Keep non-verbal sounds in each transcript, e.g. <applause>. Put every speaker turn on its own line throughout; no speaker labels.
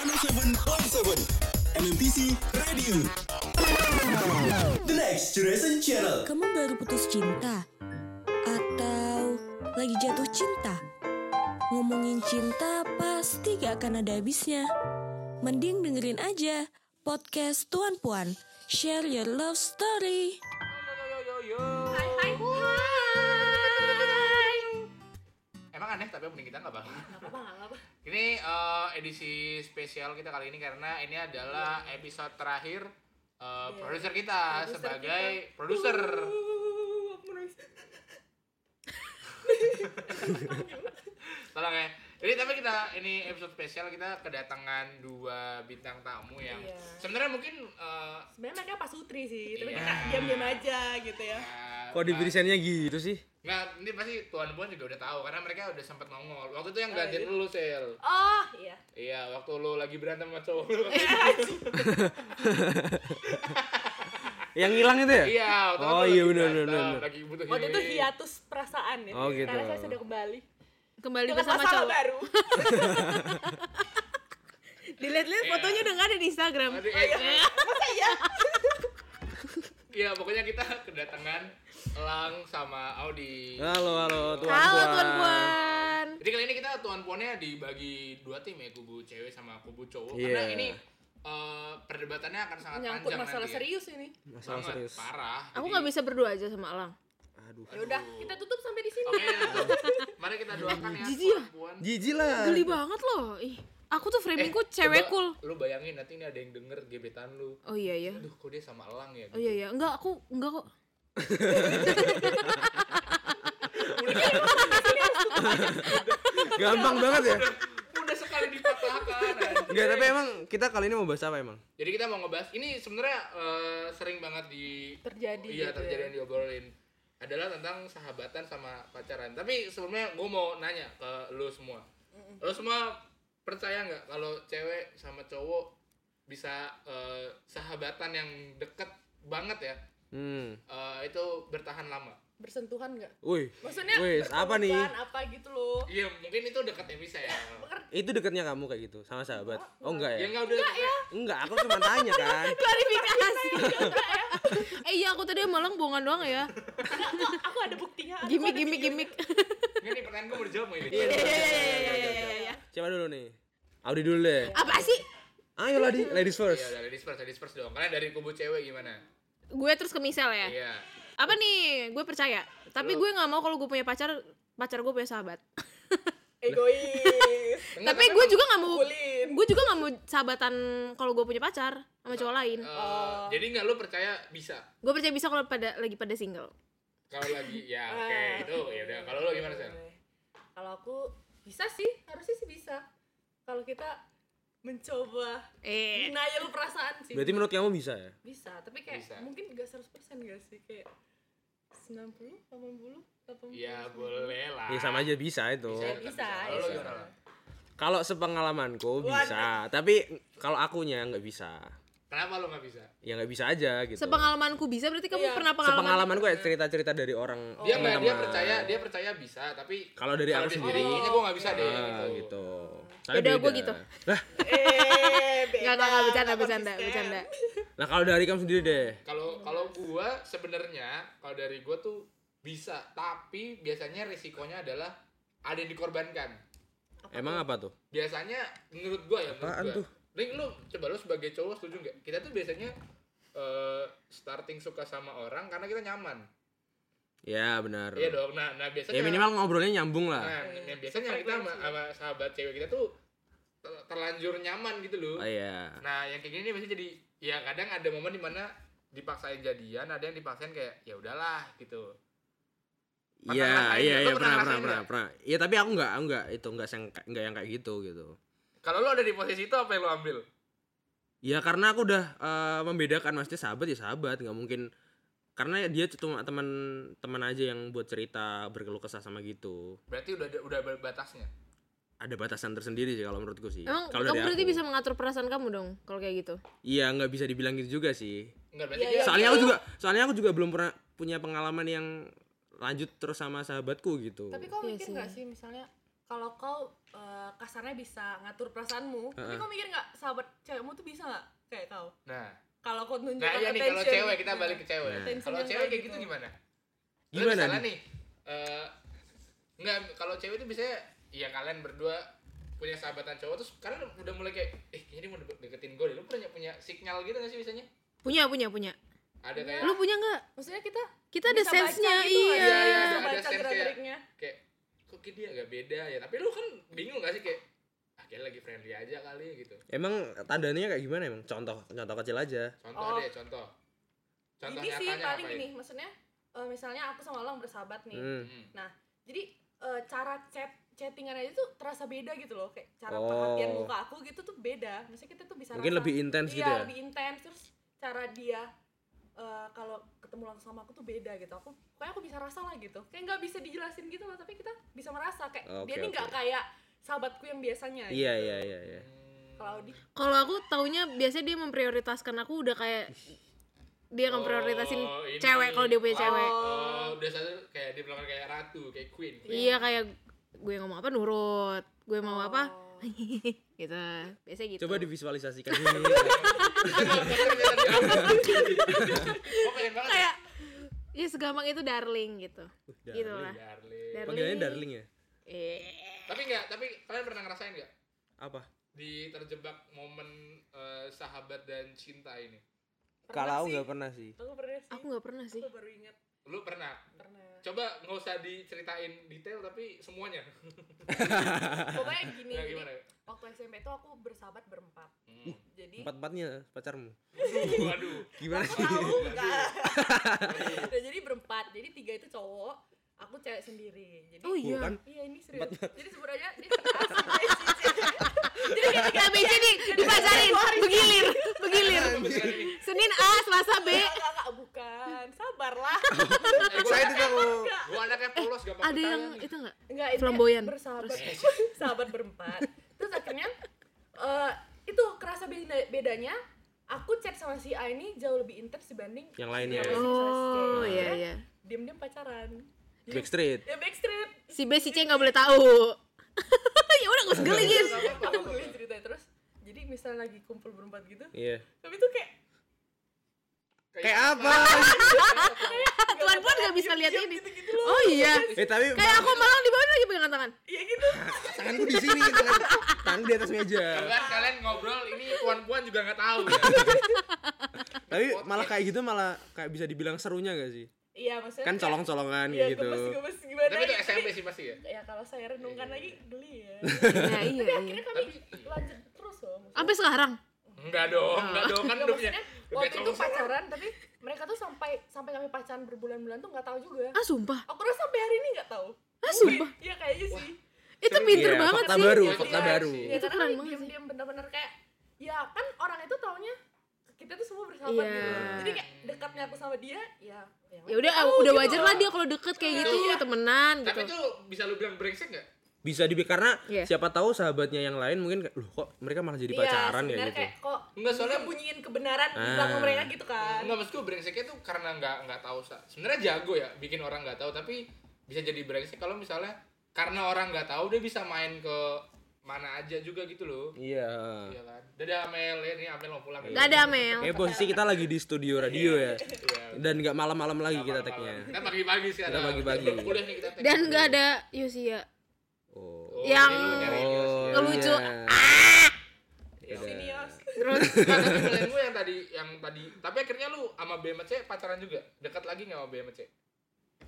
107.7 MMPC Radio The Next Generation Channel
Kamu baru putus cinta? Atau lagi jatuh cinta? Ngomongin cinta pasti gak akan ada habisnya. Mending dengerin aja podcast Tuan Puan. Share your love story.
Hai hai hai.
Emang aneh tapi opening kita nggak bang?
Apa apa?
Ini eh, edisi spesial kita kali ini karena ini adalah episode terakhir eh, produser kita
Iya. Produser
sebagai
kita.
produser.
Uh, aku nangis.
Tolong ya. Ini tapi kita ini episode spesial kita kedatangan dua bintang tamu yang
Iya.
sebenarnya mungkin eh,
Sebenarnya mereka pas sutri sih, tapi
Iya.
kita diam-diam aja gitu ya.
eh,
Kok di desainnya gitu sih?
nggak ini pasti tuan puan juga udah tahu karena mereka udah sempat nongol. Waktu itu yang
Ah,
gantiin
iya.
lu sel.
Oh iya.
Iya, waktu lu lagi berantem sama cowok
<laughs>
lu.
Yang hilang itu ya?
Iya, waktu itu
Oh iya
lagi
benar
berantem,
benar benar.
Lagi butuh
Waktu itu
ini.
hiatus perasaan ya.
Oh, gitu.
Karena saya sudah kembali.
kembali
Dengan
bersama
masalah
cowok
<laughs> baru.
dilihat-lihat fotonya udah nggak ada di Instagram
Nanti, eh,
Masa iya?
Iya, pokoknya kita kedatangan Elang sama Audi.
Halo halo tuan
halo
Puan.
tuan puan
Jadi kali ini kita tuan puannya dibagi dua tim ya, kubu cewek sama kubu cowok.
Iya.
Karena ini eh, perdebatannya akan sangat
Nyangkut
panjang
masalah
nanti.
serius ini.
ya.
Masalah
Banget,
serius.
Parah.
aku
Jadi-
nggak bisa berdua aja sama Elang
Aduh.
Ya udah, kita tutup sampai di sini.
Oke, tuh. mari kita doakan ya
Jijik ya.
tuan puan.
Jijik lah.
geli banget loh ih aku tuh
Eh,
framingku cewek
coba
cool
Lu bayangin nanti ini ada yang denger gebetan lu.
oh iya iya
Aduh, kok dia sama Elang ya?
oh iya iya enggak aku enggak kok
Gampang banget ya.
Udah sekali dipatahkan. anjing.
Enggak, tapi emang kita kali ini mau bahas apa emang?
Jadi kita mau ngebahas ini sebenarnya eh, sering banget di
Terjadi
Iya,
gitu
terjadi
ya.
yang diobrolin adalah tentang sahabatan sama pacaran. Tapi sebelumnya gue mau nanya ke lu semua. Lu semua percaya nggak kalau cewek sama cowok bisa eh, sahabatan yang deket banget ya?
Hmm.
eh, itu bertahan lama.
Bersentuhan nggak?
Wih.
Maksudnya
Wih, apa nih?
bersentuhan, apa gitu loh.
Iya, mungkin itu deketnya bisa ya.
Itu deketnya kamu kayak gitu sama sahabat. Oh enggak ya?
ya nggak udah deket ya.
Enggak, aku cuma tanya kan.
klarifikasi eh iya aku tadi sama Elang bohongan doang ya
Aku ada buktinya. aku
gimik
ada
gimik
videonya.
gimik
Nggak nih pertanyaan gue mau dijawab mau ini.
Iya, iya,
iya iya iya iya
Siapa dulu nih? Audi dulu deh.
apa sih
Ayo ladi, ladies
Iya,
first.
dari disperse, dari disperse dong. Kalian dari kubu cewek gimana?
gue terus ke Michelle ya
Iya.
apa nih gue percaya tapi gue nggak mau kalau gue punya pacar pacar gue punya sahabat
Egois.
Enggak,
tapi gue juga nggak mau
Pukulin.
gue juga nggak mau sahabatan kalau gue punya pacar sama cowok lain
Eh,
Oh.
Jadi nggak lu percaya bisa
gue percaya bisa kalau pada lagi pada single
kalau lagi
<laughs>
ya oke
Ah.
itu ya udah kalau lo gimana sih
Kalau aku bisa sih, harusnya sih bisa. Kalau kita mencoba
eh
denial perasaan sih.
Berarti menurut kamu bisa ya?
bisa, tapi kayak
Bisa.
mungkin gak 100% gak sih? Kayak 90, 80, 80.
ya boleh lah
Ya sama aja bisa itu.
Bisa.
Bisa,
Kalau
ya
lo
bisa.
gimana lah?
Kalau sepengalamanku bisa, tapi kalau akunya nggak bisa.
kenapa lo nggak bisa
Ya nggak bisa aja gitu.
sepengalamanku bisa berarti
Iya.
kamu pernah pengalaman
sepengalaman gue cerita-cerita dari orang
gitu.
Oh.
Oh. dia nggak dia
teman-teman.
percaya dia percaya bisa tapi
Kalau dari aku sendiri.
ini gue nggak bisa deh
Ah,
gitu.
gitu.
Beda, gua gitu.
Lah,
Eh, beda.
nggak nggak nggak, bercanda
nggak
bercanda
konsisten.
bercanda
nah kalau dari kamu sendiri deh.
kalau kalau gue sebenarnya kalau dari gue tuh bisa tapi biasanya risikonya adalah ada yang dikorbankan
Emang apa tuh?
biasanya menurut gue ya
Apaan
menurut
tuh?
gue Ring, lu coba lu sebagai cowok setuju nggak kita tuh biasanya eh, starting suka sama orang karena kita nyaman
Ya benar.
Iya dong. Nah, nah biasanya
Ya minimal ngobrolnya nyambung
Nah,
lah.
nah, biasanya kita sama, sama sahabat cewek kita tuh ter- terlanjur nyaman gitu loh.
Oh iya.
Nah, yang kayak gini nih biasanya jadi ya kadang ada momen dimana dipaksain jadian, ada yang dipaksain kayak ya udahlah gitu. Pernah
Iya,
ngerasain
iya,
nggak?
iya
Lu pernah
pernah pernah
ngerasain
pernah
nggak?
pernah. Iya tapi aku nggak, aku nggak itu nggak yang nggak yang kayak gitu gitu.
Kalau lo ada di posisi itu apa yang lo ambil?
Ya karena aku udah eh, membedakan maksudnya sahabat ya sahabat nggak mungkin karena dia cuma teman teman aja yang buat cerita berkeluh kesah sama gitu
Berarti udah ada- udah ada batasnya.
ada batasan tersendiri sih kalau menurutku sih
emang
kalau
kamu
dari
berarti
aku.
bisa mengatur perasaan kamu dong kalau kayak gitu
iya nggak bisa dibilang gitu juga sih
Enggak berarti dia
soalnya aku juga soalnya aku juga belum pernah punya pengalaman yang lanjut terus sama sahabatku gitu
Tapi kau
Iya
mikir
sih.
nggak sih misalnya kalau kau eh, kasarnya bisa ngatur perasaanmu tapi
Heeh.
kau mikir nggak sahabat cewekmu tuh bisa nggak kayak kau
Nah,
kalau kau nunjukin
nah iya nih kalau
attention.
cewek kita balik ke cewek.
Nah.
Attention
Kalau
yang
cewek
kayak
kayak gitu
gitu.
gimana? Lu
Gimana
misalnya
nih?
nih? eh, Enggak, kalau cewek itu biasanya ya kalian berdua punya sahabatan cowok terus kalian udah mulai kayak eh kayaknya dia mau de- deketin gue deh lu punya punya signal gitu gak sih biasanya
Punya, punya, punya.
ada kayak
Lu punya nggak?
maksudnya kita
Kita ada
bisa baca
sense-nya,
gitu aja,
iya.
Iya,
bisa
ada
baca
sense kayak-
gerak-geriknya
kayak kok kayak dia agak beda ya tapi lu kan bingung gak sih kayak ah dia lagi friendly aja kali gitu
Emang tandanya kayak gimana emang? Contoh contoh kecil aja.
contoh
Oh.
deh contoh contoh
gini sih
nyatanya
paling
apa
gini
ini
maksudnya eh, misalnya aku sama orang bersahabat nih
ya? Hmm.
jadi eh, cara chat chattingan aja tuh terasa beda gitu loh kayak cara
Oh.
perhatian muka aku gitu tuh beda maksudnya kita tuh bisa
Mungkin
rasa,
lebih intens
iya,
gitu ya.
lebih intens terus cara dia eh, kalau ketemu langsung sama aku tuh beda gitu aku kayak aku bisa rasa lah gitu kayak nggak bisa dijelasin gitu loh tapi kita bisa merasa kayak dia
Oke,
nih nggak
oke.
kayak sahabatku yang biasanya
Iya
gitu.
iya iya iya.
kalau di
Kalau aku taunya biasanya dia memprioritaskan aku udah kayak dia ngeprioritasin
Oh, ini.
cewek kalau dia punya cewek.
oh udah satu kayak dia bilang kayak ratu kayak queen
Iya kayak gue ngomong apa nurut, gue mau apa <laughs> gitu. Biasanya gitu.
Coba divisualisasikan
oh pengen banget
kayak ya segampang itu darling gitu. gitu lah.
ya. Darling.
Darling.
Panggilannya darling ya?
Eh.
tapi enggak tapi kalian pernah ngerasain nggak
Apa?
di terjebak momen eh, sahabat dan cinta ini
Kalau
sih.
nggak pernah sih.
aku pernah sih
Aku nggak pernah sih.
aku baru ingat
lu pernah
pernah
coba nggak usah diceritain detail tapi semuanya
pokoknya gini
ya,
jadi
gimana
waktu SMP tuh aku bersahabat berempat
Hmm.
jadi
Empat Iya, empatnya pacarmu.
waduh
Gimana
aku
sih?
<laughs> tahu enggak
iya.
Nah, jadi berempat jadi tiga itu cowok aku cewek sendiri jadi
Oh iya. <laughs>
Bukan.
iya ini serius jadi sebenarnya ini asli,
Jadi ketika BC di dipacarin, begilir, begilir. Senin A, Selasa B.
enggak, enggak, enggak, bukan sabarlah
Eh, gua
Saya
anaknya-
tidak mau.
gua anaknya polos gampang
Ada
percaya
yang
nih.
itu enggak?
enggak ini
Flamboyan.
bersahabat <laughs> sahabat berempat terus akhirnya eh, itu kerasa beda- bedanya aku chat sama si A ini jauh lebih intens dibanding
Yang lainnya. ya?
sama si B sama si C.
Oh iya
Akhirnya
iya.
diam-diam pacaran
Backstreet. Iya.
ya backstreet
Si B si C nggak boleh tahu. <laughs> ya udah gue segelingin.
aku boleh ceritain terus jadi misalnya lagi kumpul berempat gitu
Iya.
tapi tuh kayak
Kayak apa?
Tuan pun nggak bisa lihat ini. Oh iya.
eh tapi
Kayak aku malang di bawah lagi pegangan tangan.
ya gitu
tanganku di sini, tangan, tangan di atas meja.
Bahkan kan kalian ngobrol ini puan-puan juga nggak tahu ya.
Tapi malah kayak gitu malah kayak bisa dibilang serunya gak sih?
iya maksudnya
Kan colong-colongan
ya,
gitu.
gemes gemes gimana
Tapi itu
gitu.
SMP sih pasti ya.
ya kalau saya renungkan lagi geli ya
Ya iya.
akhirnya kan kami lanjut terus loh maksudnya.
Sampai sekarang.
Enggak dong, enggak dong kan
Nggak,
hidupnya.
maksudnya waktu itu pacaran tapi mereka tuh sampai sampai kami pacaran berbulan-bulan tuh nggak tahu juga
Ah sumpah.
aku rasa sampai hari ini nggak tahu
Ah sumpah.
Iya kayaknya sih
Itu pinter
Iya,
banget
fakta
sih.
baru,
Iya,
fakta
iya.
baru.
Iya.
ya
Itu
karena
keren
kami
banget sih.
diam-diam bener-bener kayak ya kan orang itu taunya kita tuh semua bersahabat
Iya.
gitu jadi kayak dekatnya aku sama dia ya ya
Ya udah
tahu
udah
gitu
wajar lah
loh.
dia kalau deket kayak gitu temenan
Tapi itu
gitu.
bisa lu bilang brengsek enggak?
Bisa dibi karena
Iya.
siapa tahu sahabatnya yang lain mungkin kayak, loh kok mereka malah jadi
iya,
pacaran ya
sebenarnya
gitu.
kayak kok
Enggak, soalnya-
bunyiin kebenaran di belakang
Ah.
mereka gitu kan
Enggak maksudku brengseknya tuh karena enggak enggak tahu. Sa. Sebenarnya jago ya bikin orang enggak tahu tapi bisa jadi brengsek kalau misalnya karena orang enggak tahu dia bisa main ke mana aja juga gitu loh.
Iya.
Iya kan. Dadah Amel, ini Amel mau pulang.
Gak ada Mel.
Eh posisi kita lagi di studio radio ya.
Iya.
Dan nggak malam-malam lagi kita tagnya.
Kita pagi-pagi sih ada.
Kita pagi-pagi.
Udah nih kita tag.
Dan gak ada iya ya. Yosia.
Oh.
Oh,
yang-
ini lu nyari Yos, ya.
Ngelucu.
iya.
sini Yos.
Nah, tapi kalian gue yang tadi yang tadi tapi akhirnya lu sama BMC pacaran juga dekat lagi nggak sama BMC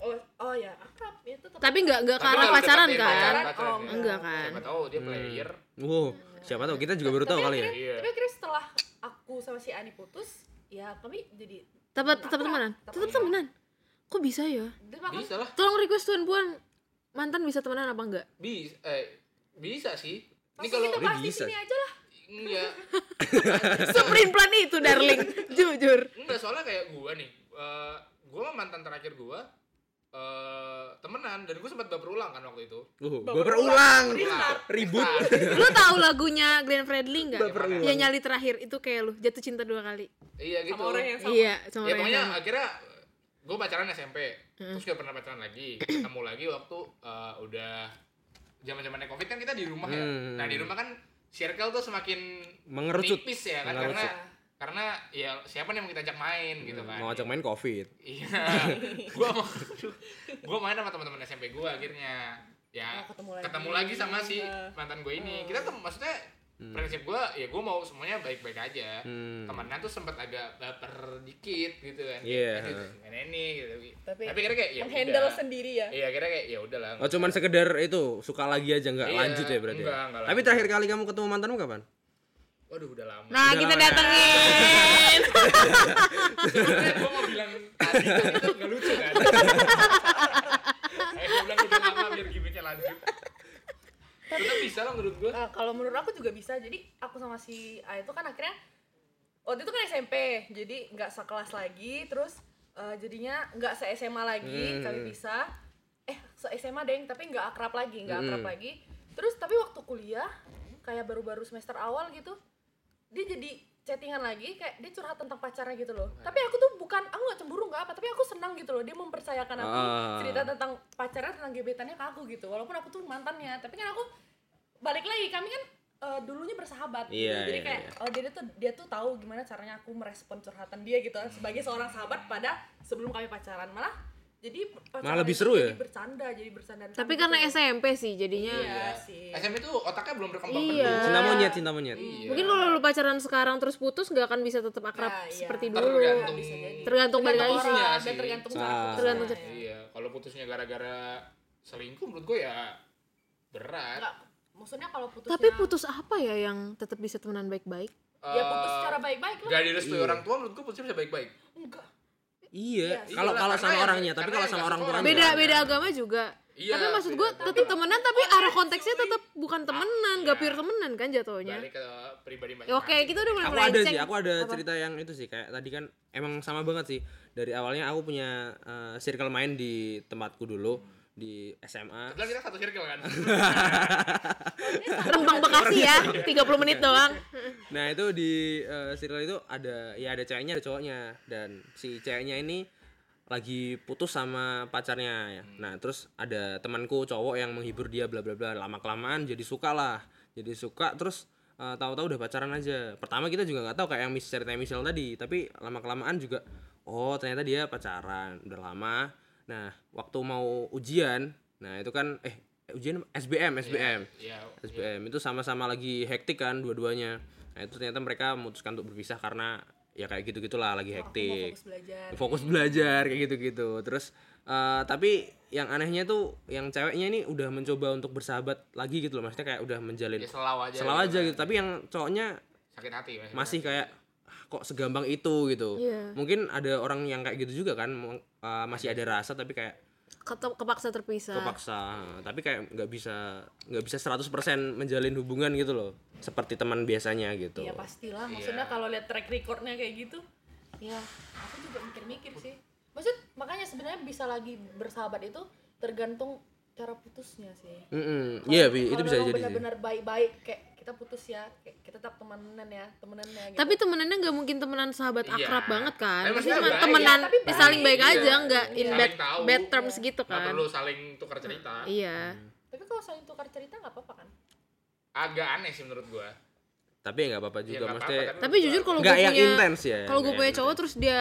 oh oh ya akrab ya tetap
Tapi gak gak
Tapi
ke arah
kalau
pacaran
deketin
kan?
pacaran, pacaran
Oh,
ya.
Enggak kan?
siapa tahu
Hmm.
dia player
Wow, siapa tahu kita juga baru tahu kali ya.
akhirnya-
Iya.
tapi akhirnya setelah aku sama si Ani putus ya kami jadi
Tetap tetap temenan. Tetap temenan. Kok bisa ya?
dia bahkan
bisa lah
Tolong request tuan puan mantan bisa temenan apa
<laughs>
enggak?
bisa eh bisa sih ini kalau iya.
Maksudnya kita
Dia
bahas di
bisa.
sini aja lah
enggak
Supreme plan itu darling, jujur.
enggak soalnya kayak gua nih eh gua sama mantan terakhir gua eh temenan dan gua sempat baper ulang kan waktu itu
Uh, baper ulang.
Restart.
Ribut.
Lu tahu lagunya Glenn Fredly enggak?
Baper ulang.
Ya nyali terakhir itu kayak lu jatuh cinta dua kali.
<laughs> iya gitu
sama orang yang sama
Iya,
ya
sama orang yang
pokoknya
sama.
akhirnya gue pacaran SMP terus gak pernah pacaran lagi ketemu lagi waktu eh, udah zaman zamannya covid kan kita di rumah ya
Hmm.
nah di rumah kan circle tuh semakin
Mengerucut.
tipis ya kan
Mengerucut.
karena karena ya siapa nih yang mau kita ajak main gitu kan
mau ajak main covid <laughs>
iya gua <laughs> mau gua main sama teman-teman SMP gua akhirnya ya
Oh, ketemu
ketemu
lagi.
lagi, sama si
Iya.
mantan gue ini kita tuh maksudnya prinsip gue ya gue mau semuanya baik-baik aja
Hmm.
temennya tuh sempat agak baper dikit gitu kan
Iya.
Kayak, "Aduh, gimana ini gitu
Tapi-
tapi, akhirnya kayak ya
Menghandle
udah.
sendiri ya.
iya akhirnya kayak ya udahlah
oh cuman sekedar itu suka lagi aja nggak
Iya,
lanjut ya berarti ya?
enggak, enggak
tapi
lanjut.
terakhir kali kamu ketemu mantanmu kapan
waduh udah lama <laughs>
Nah,
Udah
kita
lama ya.
datengin.
gue mau bilang tadi tapi tetep nggak lucu
<laughs>
kan Ayo gue bilang udah lama biar gimmicknya lanjut tetap bisa lah menurut gue
Eh, kalau menurut aku juga bisa. Jadi aku sama si A itu kan akhirnya waktu itu kan SMP, jadi nggak sekelas lagi, terus eh, jadinya nggak se SMA lagi, kami bisa. Eh se SMA deng, tapi nggak akrab lagi, nggak akrab lagi. Terus tapi waktu kuliah, kayak baru-baru semester awal gitu, dia jadi chattingan lagi, kayak dia curhat tentang pacarnya gitu loh. Tapi aku tuh bukan, aku nggak cemburu nggak apa, tapi aku senang gitu loh. Dia mempercayakan aku
Ah.
cerita tentang pacarnya, tentang gebetannya ke aku gitu. Walaupun aku tuh mantannya, tapi kan aku balik lagi kami kan eh, dulunya bersahabat gitu.
Iya,
jadi
iya,
kayak
iya.
oh jadi tuh dia tuh tahu gimana caranya aku merespon curhatan dia gitu sebagai seorang sahabat pada sebelum kami pacaran malah jadi pacaran
Malah
itu
lebih seru
jadi
ya?
bercanda jadi bercandaan
Tapi
kami
kan karena
gitu.
SMP sih jadinya.
iya sih
SMP tuh otaknya belum berkembang
Iya.
penuh.
cinta monyet cinta monyet
Iya.
Mungkin kalau lu pacaran sekarang terus putus gak akan bisa tetap akrab
Nah, iya.
seperti dulu.
tergantung
Bisa jadi.
Tergantung balik lagi
orang.
sih.
orang
sih.
dan tergantung
Ah.
cara
Tergantung
putusnya, ya.
iya kalau putusnya gara-gara selingkuh menurut gue ya berat
Enggak, maksudnya kalau putusnya
Tapi putus apa ya yang tetap bisa temenan baik-baik?
ya putus
Eh,
secara baik-baik lah
gak direstui orang tua menurut gue putusnya bisa baik-baik
enggak
iya
Iya,
kalau kalau
karena
sama
yang-
orangnya tapi
karena
kalau
yang
sama
nggak
orang
suka
tua
orang
Beda
Iya.
beda agama juga.
Iya,
tapi maksud
beda
gue
agama.
tetap temenan tapi arah konteksnya tetap bukan temenan, gak pure temenan kan jatuhnya.
balik ke pribadi Nah,
Ya, Oke,
masing-masing.
kita udah mulai
aku
melenceng.
ada sih aku ada
Apa?
cerita yang itu sih kayak tadi kan emang sama banget sih dari awalnya aku punya eh, circle main di tempatku dulu di
<laughs>
SMA <laughs>
Kebetulan kita satu circle kan
Rembang Bekasi ya, 30
Iya.
menit doang.
nah itu di eh, circle itu ada ya ada ceweknya ada cowoknya dan si ceweknya ini lagi putus sama pacarnya ya. Nah, terus ada temanku cowok yang menghibur dia bla bla bla. Lama kelamaan jadi suka lah. Jadi suka terus eh, tahu-tahu udah pacaran aja. Pertama kita juga nggak tahu kayak yang mis- cerita Michelle tadi, tapi lama kelamaan juga oh ternyata dia pacaran udah lama. Nah, waktu mau ujian, nah itu kan eh ujian SBM SBM.
Iya, iya.
SBM itu sama-sama lagi hektik kan dua-duanya. Nah itu ternyata mereka memutuskan untuk berpisah karena ya kayak gitu gitulah lagi hektik.
fokus belajar
Fokus belajar kayak gitu-gitu. Terus eh, tapi yang anehnya tuh yang ceweknya ini udah mencoba untuk bersahabat lagi gitu loh. Maksudnya kayak udah menjalin
Ya, selaw aja
selaw
gitu
aja
kan.
gitu. Tapi yang cowoknya
sakit hati masih
masih kayak "Ah, kok segampang itu gitu.
Iya.
Mungkin ada orang yang kayak gitu juga kan meng- eh, masih ada rasa tapi kayak
Ketep- Kepaksa terpisah.
kepaksa tapi kayak nggak bisa nggak bisa 100% menjalin hubungan gitu loh seperti teman biasanya gitu
ya
Iya,
pastilah maksudnya
Iya.
kalau lihat track recordnya kayak gitu ya aku juga mikir-mikir sih maksud makanya sebenarnya bisa lagi bersahabat itu tergantung cara putusnya sih
Mm-mm. iya Bi, itu
Kalau
bisa
memang
jadi sih
benar-benar baik-baik kayak kita putus ya kayak kita tetap temenan ya temenannya gitu.
Tapi temenannya nggak mungkin temenan sahabat
Iya.
akrab banget kan.
Tapi
Maksudnya
maksudnya
cuma
baik.
temenan
Iya, tapi baik.
saling baik
Iya.
aja, nggak in
Saling
bad,
tahu.
bad terms gitu
nggak
kan.
perlu saling tukar cerita
Iya.
tapi kalau saling tukar cerita nggak apa-apa kan
agak aneh sih menurut gue
tapi ya nggak apa-apa kan. juga
nggak
maksudnya
apa-apa,
Tapi jujur kalau gue
nggak yang
punya
intens ya
kalau gue
Iya,
nggak
punya
yang
cowok terus dia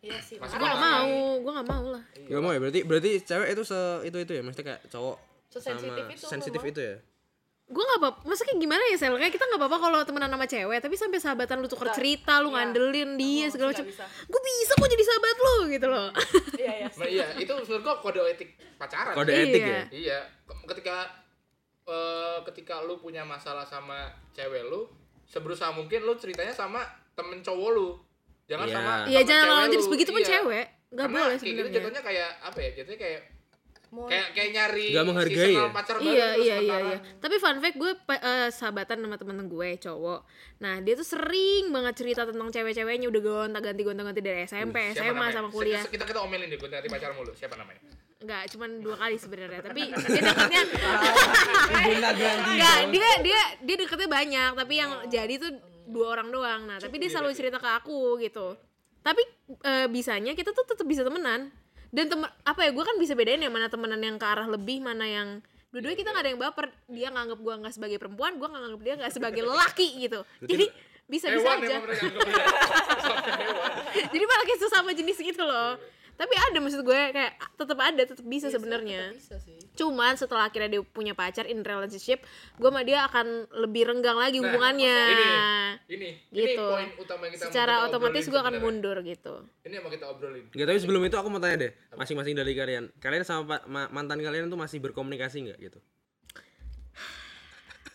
iya sih
Masih
gue
karena
nggak mau, gue nggak mau lah.
intens. nggak mau ya berarti berarti cewek itu se itu itu ya maksudnya kayak cowok
Sesensitif itu,
sensitif
memang.
itu ya
Gue nggak apa, maksudnya gimana ya sel? Kayak kita nggak apa-apa kalau temenan sama cewek, tapi sampai sahabatan lu tuker cerita, lu ngandelin dia segala
Iya. nggak bisa.
macam. Gue bisa kok jadi sahabat lu gitu loh.
iya iya <laughs> sih.
Nah, iya itu menurut gue kode etik pacaran
kode
Iya.
etik ya
Iya, ke- ketika eh, ketika lu punya masalah sama cewek lu, seberusaha mungkin lu ceritanya sama temen cowok lu. Jangan
Iya.
sama
Iya
temen
jangan
cewek
lawan
lu.
jenis begitu pun
Iya.
cewek, nggak
Karena
boleh
kayak gitu
sebenarnya.
jatuhnya kayak apa ya? Jatuhnya kayak
Mau-
kayak kayak nyari
Nggak menghargai
seasonal
ya?
pacar baru
iya
terus
iya iya
sementara.
iya tapi fun fact gue pa- eh, sahabatan sama temen gue cowok nah dia tuh sering banget cerita tentang cewek-ceweknya udah gonta ganti gonta ganti dari SMP
Siapa
SMA
namanya?
sama
Se-
kuliah
se- Kita kita omelin deh gue nanti pacar mulu. Siapa namanya?
nggak cuman dua kali sebenarnya
<laughs>
tapi dia deketnya
Gonta ganti
nggak dia dia dia deketnya banyak tapi yang jadi tuh dua orang doang nah tapi dia selalu cerita ke aku gitu tapi eh, bisanya kita tuh tetap bisa temenan dan temen apa ya gue kan bisa bedain ya mana temenan yang ke arah lebih mana yang dua-duanya kita nggak ada yang baper dia nganggap gua nggak sebagai perempuan gua nggak nganggap dia nggak sebagai lelaki gitu jadi bisa bisa
Hewan
aja
emang
<laughs>
mereka anggapnya.
jadi malah kayak sesama jenis gitu loh tapi ada maksud gue kayak tetap ada tetap bisa sebenarnya
Iya bisa sih
cuman setelah akhirnya dia punya pacar in relationship gue sama dia akan lebih renggang lagi hubungannya
Nah, ini ini
gitu
poin utama yang kita mau kita
secara otomatis
obrolin
gue akan
sebenarnya.
mundur gitu
ini yang mau kita obrolin
Gak tapi sebelum itu aku mau tanya deh, masing-masing dari kalian, kalian sama pa- ma- mantan kalian tuh masih berkomunikasi nggak gitu?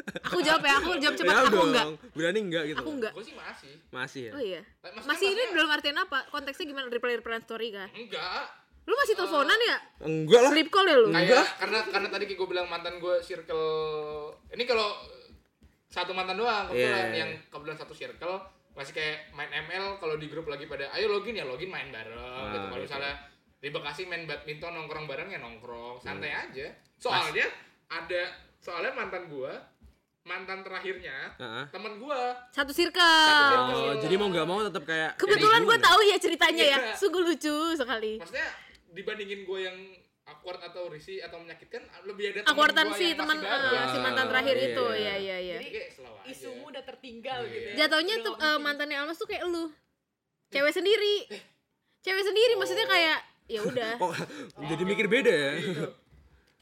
aku jawab ya aku jawab cepat
Ya
aku
dong,
enggak
Berani enggak gitu?
aku enggak
gue sih masih
Masih ya.
oh iya
Eh, Maksudnya-
masih ini
maksudnya-
belum artiin apa konteksnya gimana reply reply story kan
enggak
lu masih teleponan ya
Enggak lah.
sleep call ya lu
Eh, kayak karena karena tadi kayak gue bilang mantan gue circle ini kalau satu mantan doang kebetulan
Iya.
yang kebetulan satu circle masih kayak main ML kalau di grup lagi pada ayo login ya login main bareng gitu kalau
gitu.
misalnya di Bekasi main badminton nongkrong bareng ya nongkrong
Hmm.
santai aja soalnya ada soalnya mantan gue mantan terakhirnya
Heeh.
teman gue
satu circle
Oh, jadi mau nggak mau tetap kayak
kebetulan gue
kayak gitu.
tahu ya ceritanya ya
Iya.
sungguh lucu sekali
maksudnya dibandingin gue yang awkward atau risih atau menyakitkan lebih ada teman
akuartan
gua
si
yang masih
teman
bareng.
eh, si mantan terakhir
Iya.
itu ya ya ya
Jadi kayak slow aja.
isumu udah tertinggal gitu ya
jatuhnya
Udah
tuh
nggak
eh,
penting.
mantannya Almas tuh kayak lu cewek sendiri
Eh.
cewek sendiri maksudnya
Oh.
kayak ya
<laughs>
udah
Kok <laughs> jadi mikir beda ya?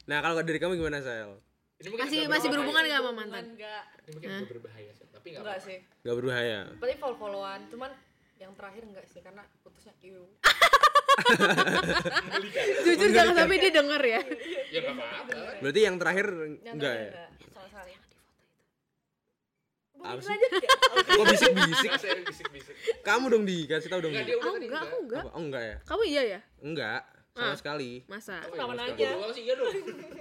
nah, kalau dari kamu gimana, Sel?
Ini mungkin
masih
agak
masih
berbahaya.
berhubungan nggak sama
Cuman
mantan
nggak
Ini mungkin agak berbahaya sih, tapi nggak
nggak
apa-apa.
sih
Gak berbahaya.
paling follow followan cuman yang terakhir enggak sih karena putusnya iya. iu
jujur jangan sampai dia denger ya
Ya nggak apa-apa.
Berarti yang terakhir enggak ya?
salah salah
Apa
Bukan
sih?
aja ya.
Kok bisik-bisik?
Nggak, saya ini bisik-bisik.
Kamu dong di, kasih tahu
<laughs>
dong.
Nggak,
Di.
dia udah
aku
tadi
Ah, enggak aku enggak
Apa? Oh, enggak ya?
kamu iya ya
Enggak, sama
Ah.
sekali.
masa
Kenapa
Mas,
nanya?
Gua sih iya dong.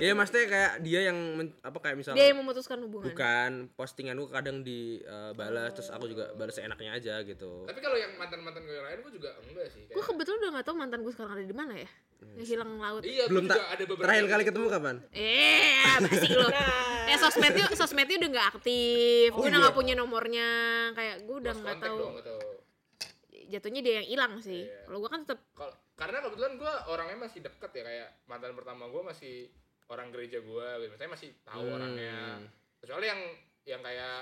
Iya, maksudnya kayak dia yang men- apa kayak misal
dia yang memutuskan hubungan
bukan postinganku kadang di eh, balas terus aku juga balas seenaknya aja gitu.
Tapi kalau yang mantan-mantan gue yang lain, gue juga enggak sih.
gue
Kayak,
kebetulan udah nggak tahu mantan gue sekarang ada di mana ya yang hilang laut
iya, belum
Belum tak
juga ada beberapa.
terakhir
kan?
kali ketemu kapan?
Eh, basi
<laughs>
lo. Eh, sosmednya sosmednya udah nggak aktif. gue udah nggak punya nomornya. Kayak gue udah
Oh, iya. Lost
nggak
contact
tahu.
dong, atau
Jatuhnya dia yang hilang sih. Kalau gue kan tetap
kalau karena kebetulan gue orangnya masih deket ya kayak mantan pertama gue masih orang gereja gue gitu. Saya masih tahu
Hmm.
orangnya. Kecuali yang yang
<laughs>
kayak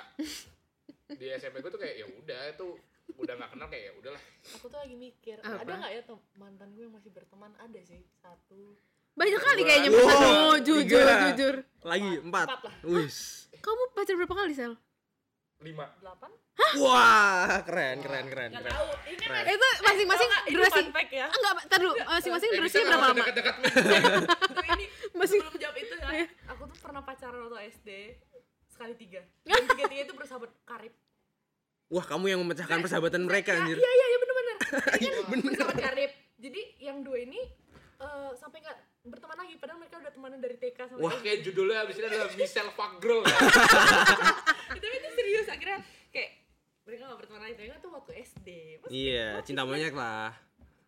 di SMP gue tuh kayak ya udah itu udah nggak kenal kayak ya udahlah.
aku tuh lagi mikir
Apa?
ada nggak ya tem- mantan gue yang masih berteman ada sih satu
banyak kali kayaknya
Wah,
mantan lo. Jujur,
tiga.
jujur.
Lagi empat.
Empat lah.
Wis.
Kamu pacar berapa kali sel?
Lima.
delapan
Wah, keren keren keren
nggak
keren.
tahu ini kan
Eh, Itu masing-masing
Itu
durasi.
fun fact ya.
Ah, Enggak, entar dulu. Eh, Masing-masing
Eh, bisa
durasinya
nggak usah
berapa lama?
Dekat-dekat
Tuh, Nah, ini <laughs>
Masih-
sebelum jawab itu ya aku tuh pernah pacaran waktu SD sekali <laughs> tiga
Hah?
dan tiga tiga itu bersahabat karib
Wah, kamu yang memecahkan persahabatan mereka Ya, anjir.
iya iya iya bener bener ini kan bersahabat karib jadi yang dua ini eh, sampai nggak berteman lagi padahal mereka udah temanan dari TK sampai
Wah, kayak judulnya abis ini adalah Michelle Fuck Girl.
tapi itu serius akhirnya kayak mereka gak berteman lagi mereka tuh waktu SD Mas,
Iya, cinta monyet lah.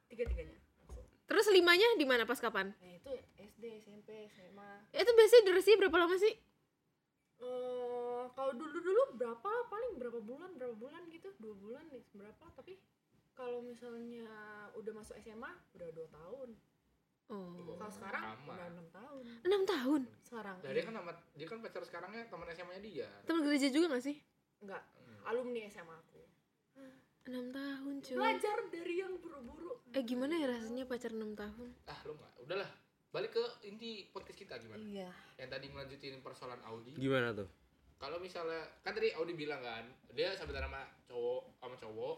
tiga tiganya langsung
Terus limanya di mana pas kapan?
nah itu SD SMP SMA
Itu biasanya durasinya berapa lama sih?
eh kalau dulu dulu berapa paling berapa bulan berapa bulan gitu dua bulan nih berapa tapi kalau misalnya udah masuk SMA udah dua tahun
Oh,
kalau sekarang
lama.
udah enam tahun
6 tahun.
sekarang
Lah
Iya.
dia kan amat, dia kan pacar sekarangnya teman SMA-nya dia.
Temen gereja juga gak sih?
kan-
enggak alumni SMA aku
6 tahun, cuy.
belajar dari yang buru-buru
Eh, gimana ya rasanya pacar 6 tahun?
Ah, lu enggak. Udahlah. Balik ke inti podcast kita gimana?
iya
Yang tadi melanjutin persoalan Audi.
Gimana tuh?
Kalau misalnya kan tadi Audi bilang kan, dia sahabatan sama cowok sama cowok.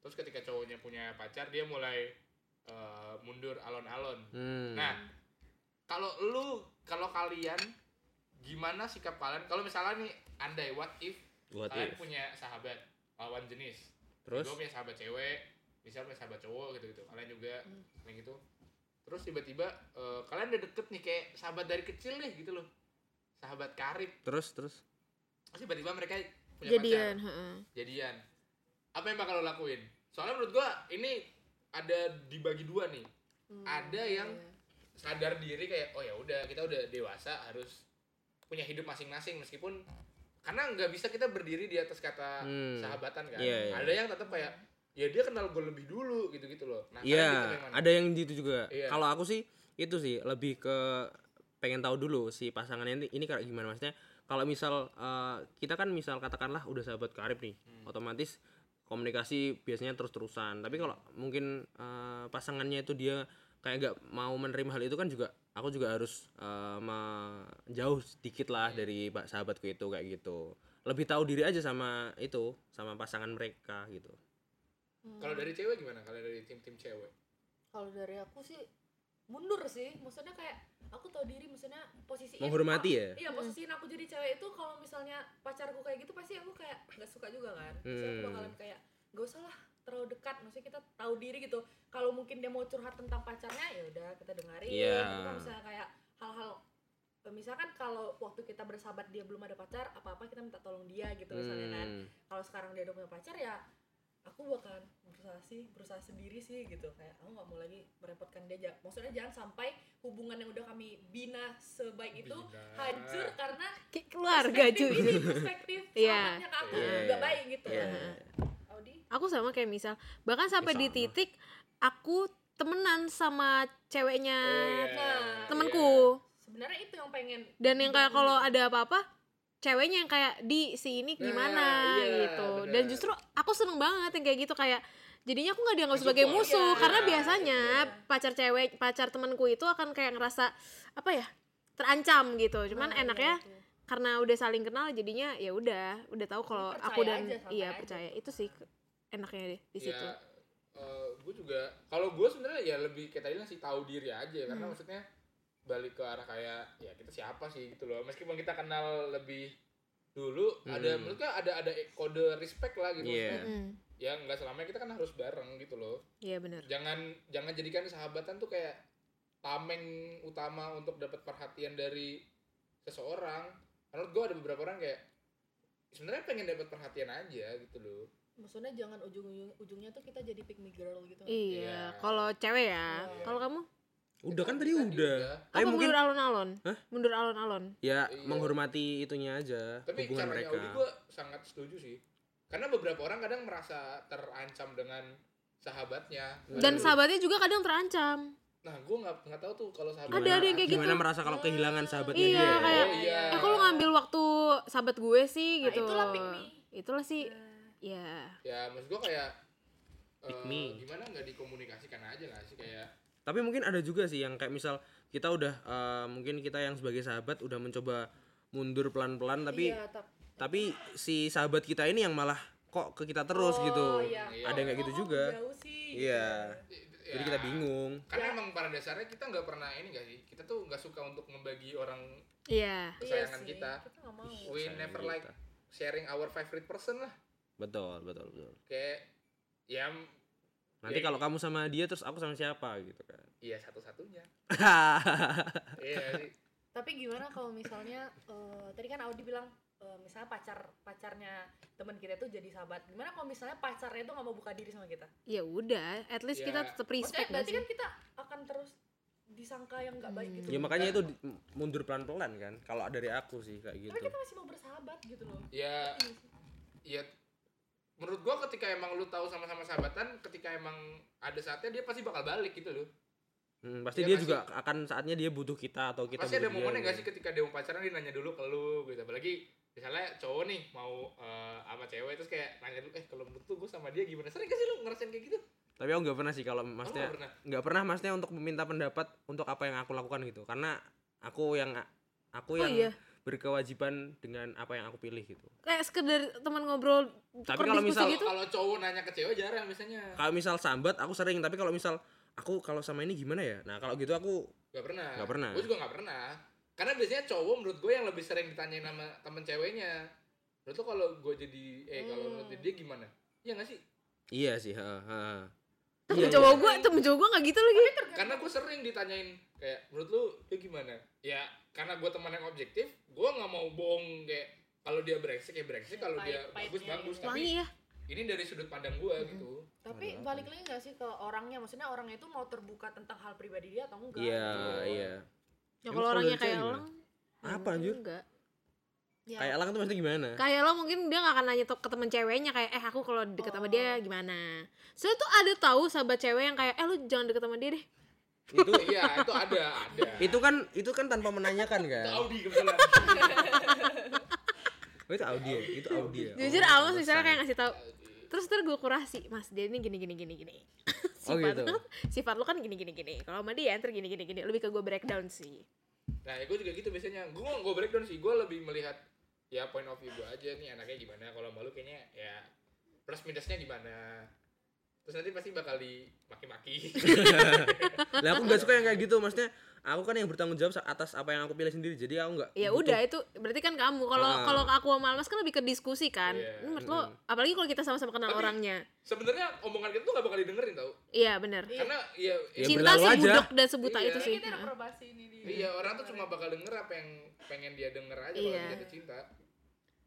Terus ketika cowoknya punya pacar, dia mulai eh, mundur alon-alon.
Hmm.
Nah, kalau lu kalau kalian gimana sikap kalian kalau misalnya nih andai what if
What
kalian
if?
punya sahabat lawan jenis
Terus?
gue punya sahabat cewek bisa punya sahabat cowok gitu gitu kalian juga kayak gitu terus tiba-tiba eh, kalian udah deket nih kayak sahabat dari kecil deh gitu loh sahabat karib
Terus terus
terus tiba-tiba mereka punya pacar
Jadian, heeh.
jadian apa yang bakal lo lakuin soalnya menurut gua ini ada dibagi dua nih ada yang sadar diri kayak oh ya udah kita udah dewasa harus punya hidup masing-masing meskipun karena nggak bisa kita berdiri di atas kata
Hmm.
sahabatan kan
Iya, iya.
ada yang tetap kayak ya dia kenal gue lebih dulu gitu gitu loh nah kalian
Iya,
gitu yang mana?
ada yang gitu juga.
Iya.
Kalau aku sih itu sih lebih ke pengen tahu dulu si pasangannya ini, ini kayak gimana maksudnya kalau misal eh, kita kan misal katakanlah udah sahabat karib nih otomatis komunikasi biasanya terus-terusan tapi kalau mungkin eh, pasangannya itu dia kayak nggak mau menerima hal itu kan juga aku juga harus eh, menjauh sedikit lah dari pak sahabatku itu kayak gitu lebih tahu diri aja sama itu sama pasangan mereka gitu
Hmm.
Kalau dari cewek gimana? Kalau dari tim-tim cewek?
kalau dari aku sih mundur sih maksudnya kayak aku tahu diri maksudnya posisi
Menghormati ya?
iya posisiin aku jadi cewek itu kalau misalnya pacarku kayak gitu pasti aku kayak nggak suka juga kan Pasti aku
Hmm.
bakalan kayak gak usah lah terlalu dekat maksudnya kita tahu diri gitu kalau mungkin dia mau curhat tentang pacarnya ya udah kita dengerin
Iya.
Tapi kalau misalnya kayak hal-hal eh, misalkan kalau waktu kita bersahabat dia belum ada pacar apa-apa kita minta tolong dia gitu misalnya kan
Hmm.
kalau sekarang dia udah punya pacar ya aku bakalan berusaha sih berusaha sendiri sih gitu kayak aku nggak mau lagi merepotkan dia Ja- maksudnya jangan sampai hubungan yang udah kami bina sebaik itu
Bina.
hancur karena
Kayak keluarga
perspektif ini,
cuy <laughs>
perspektif
Iya.
sahabatnya ke aku
Iya.
nggak baik gitu
Iya.
Audi
aku sama kayak misal bahkan
Ya,
sampai di
sama.
titik aku temenan sama
Oh,
ceweknya
iya.
Nah,
temanku
sebenarnya itu yang pengen
dan yang kayak kalau ada apa-apa ceweknya yang kayak di si ini gimana
Nah, iya,
gitu
benar.
dan justru aku seneng banget yang kayak gitu kayak jadinya aku nggak dianggap sebagai
Mensupport.
musuh
Iya,
karena
iya,
biasanya
iya.
pacar cewek pacar temanku itu akan kayak ngerasa apa ya terancam gitu cuman
Nah,
enaknya
iya itu.
karena udah saling kenal jadinya ya udah udah tahu kalau
Percaya
aku dan
aja, santai
iya
aja.
percaya itu sih ke- enaknya deh
Iya,
di situ
Ya, gue juga kalau gue sebenarnya ya lebih kayak tadi lah sih tahu diri aja karena maksudnya balik ke arah kayak ya kita siapa sih gitu loh meskipun kita kenal lebih dulu ada
Hmm.
menurutnya ada ada kode respect lah gitu
Iya.
Maksudnya,
Mm,
ya nggak selamanya kita kan harus bareng gitu loh
iya benar
jangan jangan jadikan sahabatan tuh kayak tameng utama untuk dapat perhatian dari seseorang menurut gue ada beberapa orang kayak sebenarnya pengen dapat perhatian aja gitu loh
maksudnya jangan ujung ujungnya tuh kita jadi pick me girl gitu
Iya.
iya kalau cewek ya
Iya.
kalau kamu
udah kan tadi
Tadi
udah
udah.
tapi
apa
mungkin
mundur alon-alon
Hah?
mundur alon-alon
ya
Iya.
menghormati itunya aja
tapi
hubungan
caranya
mereka
Audi gue sangat setuju sih karena beberapa orang kadang merasa terancam dengan sahabatnya
dan
Padahal-
sahabatnya juga kadang terancam
nah gue nggak nggak tahu tuh kalau sahabat
Ada- ada yang kayak
gimana
gitu.
merasa kalau kehilangan ya? sahabatnya
Iya,
dia
kayak-
oh iya
eh kok lu ngambil waktu sahabat gue sih
Nah,
gitu
itulah pick me.
itulah sih
Nah,
ya
ya maksud gue kayak eh,
Pick me.
gimana nggak dikomunikasikan aja lah sih kayak
tapi mungkin ada juga sih yang kayak misal kita udah eh, mungkin kita yang sebagai sahabat udah mencoba mundur pelan-pelan tapi
iya, tap-
tapi si sahabat kita ini yang malah kok ke kita terus
Oh,
gitu
iya.
ada yang kayak gitu
Oh, oh,
juga
jauh sih, gitu.
iya
ya,
jadi kita bingung
karena emang pada dasarnya kita nggak pernah ini gak sih kita tuh nggak suka untuk membagi orang
iya
kesayangan
sih,
kita
kita nggak mau
we
Kesayangan
never
kita.
like sharing our favorite person lah
gitu. betul betul betul
kayak ya
nanti
Ya,
kalau kamu sama dia terus aku sama siapa gitu
<laughs>
kan
iya satu-satunya iya sih
tapi gimana kalau misalnya eh, tadi kan Audi bilang eh, misalnya pacar pacarnya teman kita tuh jadi sahabat gimana kalau misalnya pacarnya tuh nggak mau buka diri sama kita
ya udah at least kita
Iya.
tetap
maksudnya
respect
berarti
gak sih? Hmm.
kan kita akan terus disangka yang nggak baik gitu
ya makanya itu di- mundur pelan-pelan kan kalau dari aku sih kayak gitu
karena
kan
kita masih mau bersahabat gitu loh
Iya
ya ya menurut gua ketika emang lu tahu sama-sama sahabatan ketika emang ada saatnya dia pasti bakal balik gitu loh
Hmm, pasti
Iya
dia
nggak
juga akan saatnya dia butuh kita atau kita
pasti ada
butuh dia
momennya
gitu.
gak sih ketika dia mau pacaran dia nanya dulu ke lu gitu apalagi misalnya cowok nih mau eh, sama cewek terus kayak nanya dulu eh kalau menurut lu gua sama dia gimana sering gak sih lu ngerasain kayak gitu
tapi aku nggak pernah sih kalau
Oh,
maksudnya
nggak pernah?
nggak pernah maksudnya untuk meminta pendapat untuk apa yang aku lakukan gitu karena aku yang aku
Oh,
yang
iya.
berkewajiban dengan apa yang aku pilih gitu
kayak sekedar teman ngobrol
Tapi
tukar
kalau
diskusi
misal-
gitu
kalau Iya, cowok nanya ke cewek jarang biasanya
kalau misal sambat aku sering tapi kalau misal aku kalau sama ini gimana ya nah kalau gitu aku
Gak pernah.
Nggak pernah.
Gue juga gak pernah. Karena biasanya cowok menurut gue yang lebih sering ditanyain sama temen ceweknya. Menurut lo kalau gue jadi, eh kalau menurut dia gimana? Iya gak sih?
iya sih ha, ha. Iya,
temen cowok gue temen cowok gue gak gitu lagi
Karena gue sering ditanyain kayak, menurut lu dia gimana? Ya karena gue teman yang objektif, gue gak mau bohong kayak kalau dia brengsek ya brengsek, kalau dia
pahit-pahitnya
bagus bagus.
gitu.
wangi
Tapi
ya
ini dari sudut pandang gue gitu.
tapi balik lagi nggak sih ke orangnya maksudnya orangnya itu mau terbuka tentang hal pribadi dia atau enggak
iya
gitu.
iya
ya
Emang
kalau
kalau
orangnya
dari cewek
kayak
gimana?
orang
apa anjir
enggak Iya.
Ya,
kayak elang tuh maksudnya
<laughs>
gimana
kayak lo mungkin dia gak akan nanya tuh ke temen ceweknya kayak eh aku kalau
Oh.
deket sama dia gimana soalnya tuh ada tahu sahabat cewek yang kayak eh lu jangan deket sama dia deh
itu
iya itu ada ada
<laughs> Iya.
itu kan itu kan tanpa menanyakan kan
Itu Audi kebetulan
Oh, itu audio itu audio
Jujur Almas misalnya kayak ngasih tahu terus ntar gue kurasi mas dia ini gini gini gini gini <laughs>
Oh,
sifat
gitu.
lu sifat lu kan gini gini gini kalau sama dia ntar gini gini gini lebih ke gue breakdown sih
nah gue juga gitu biasanya gue gue breakdown sih gue lebih melihat ya point of view gue aja nih anaknya gimana kalau malu kayaknya ya plus minusnya gimana terus nanti pasti bakal
<laughs>
dimaki-maki
lah aku gak suka yang kayak gitu maksudnya aku kan yang bertanggung jawab atas apa yang aku pilih sendiri jadi aku nggak
ya udah itu berarti kan kamu kalau
Gitu. Ah.
kalau aku sama Almas kan lebih ke diskusi kan
Iya.
Ini menurut lo apalagi kalau kita sama-sama kenal
Tapi-
orangnya
sebenarnya omongan kita tuh gak bakal didengerin tau
iya benar
karena ya,
Ya,
cinta
berlalu aja.
sebudok dan sebuta
Iya.
itu sih
Kayaknya kita ada
Nah.
probasi ini di
Iya orang tuh cuma bakal denger apa yang pengen dia denger aja
Iya.
kalau dia jatuh cinta.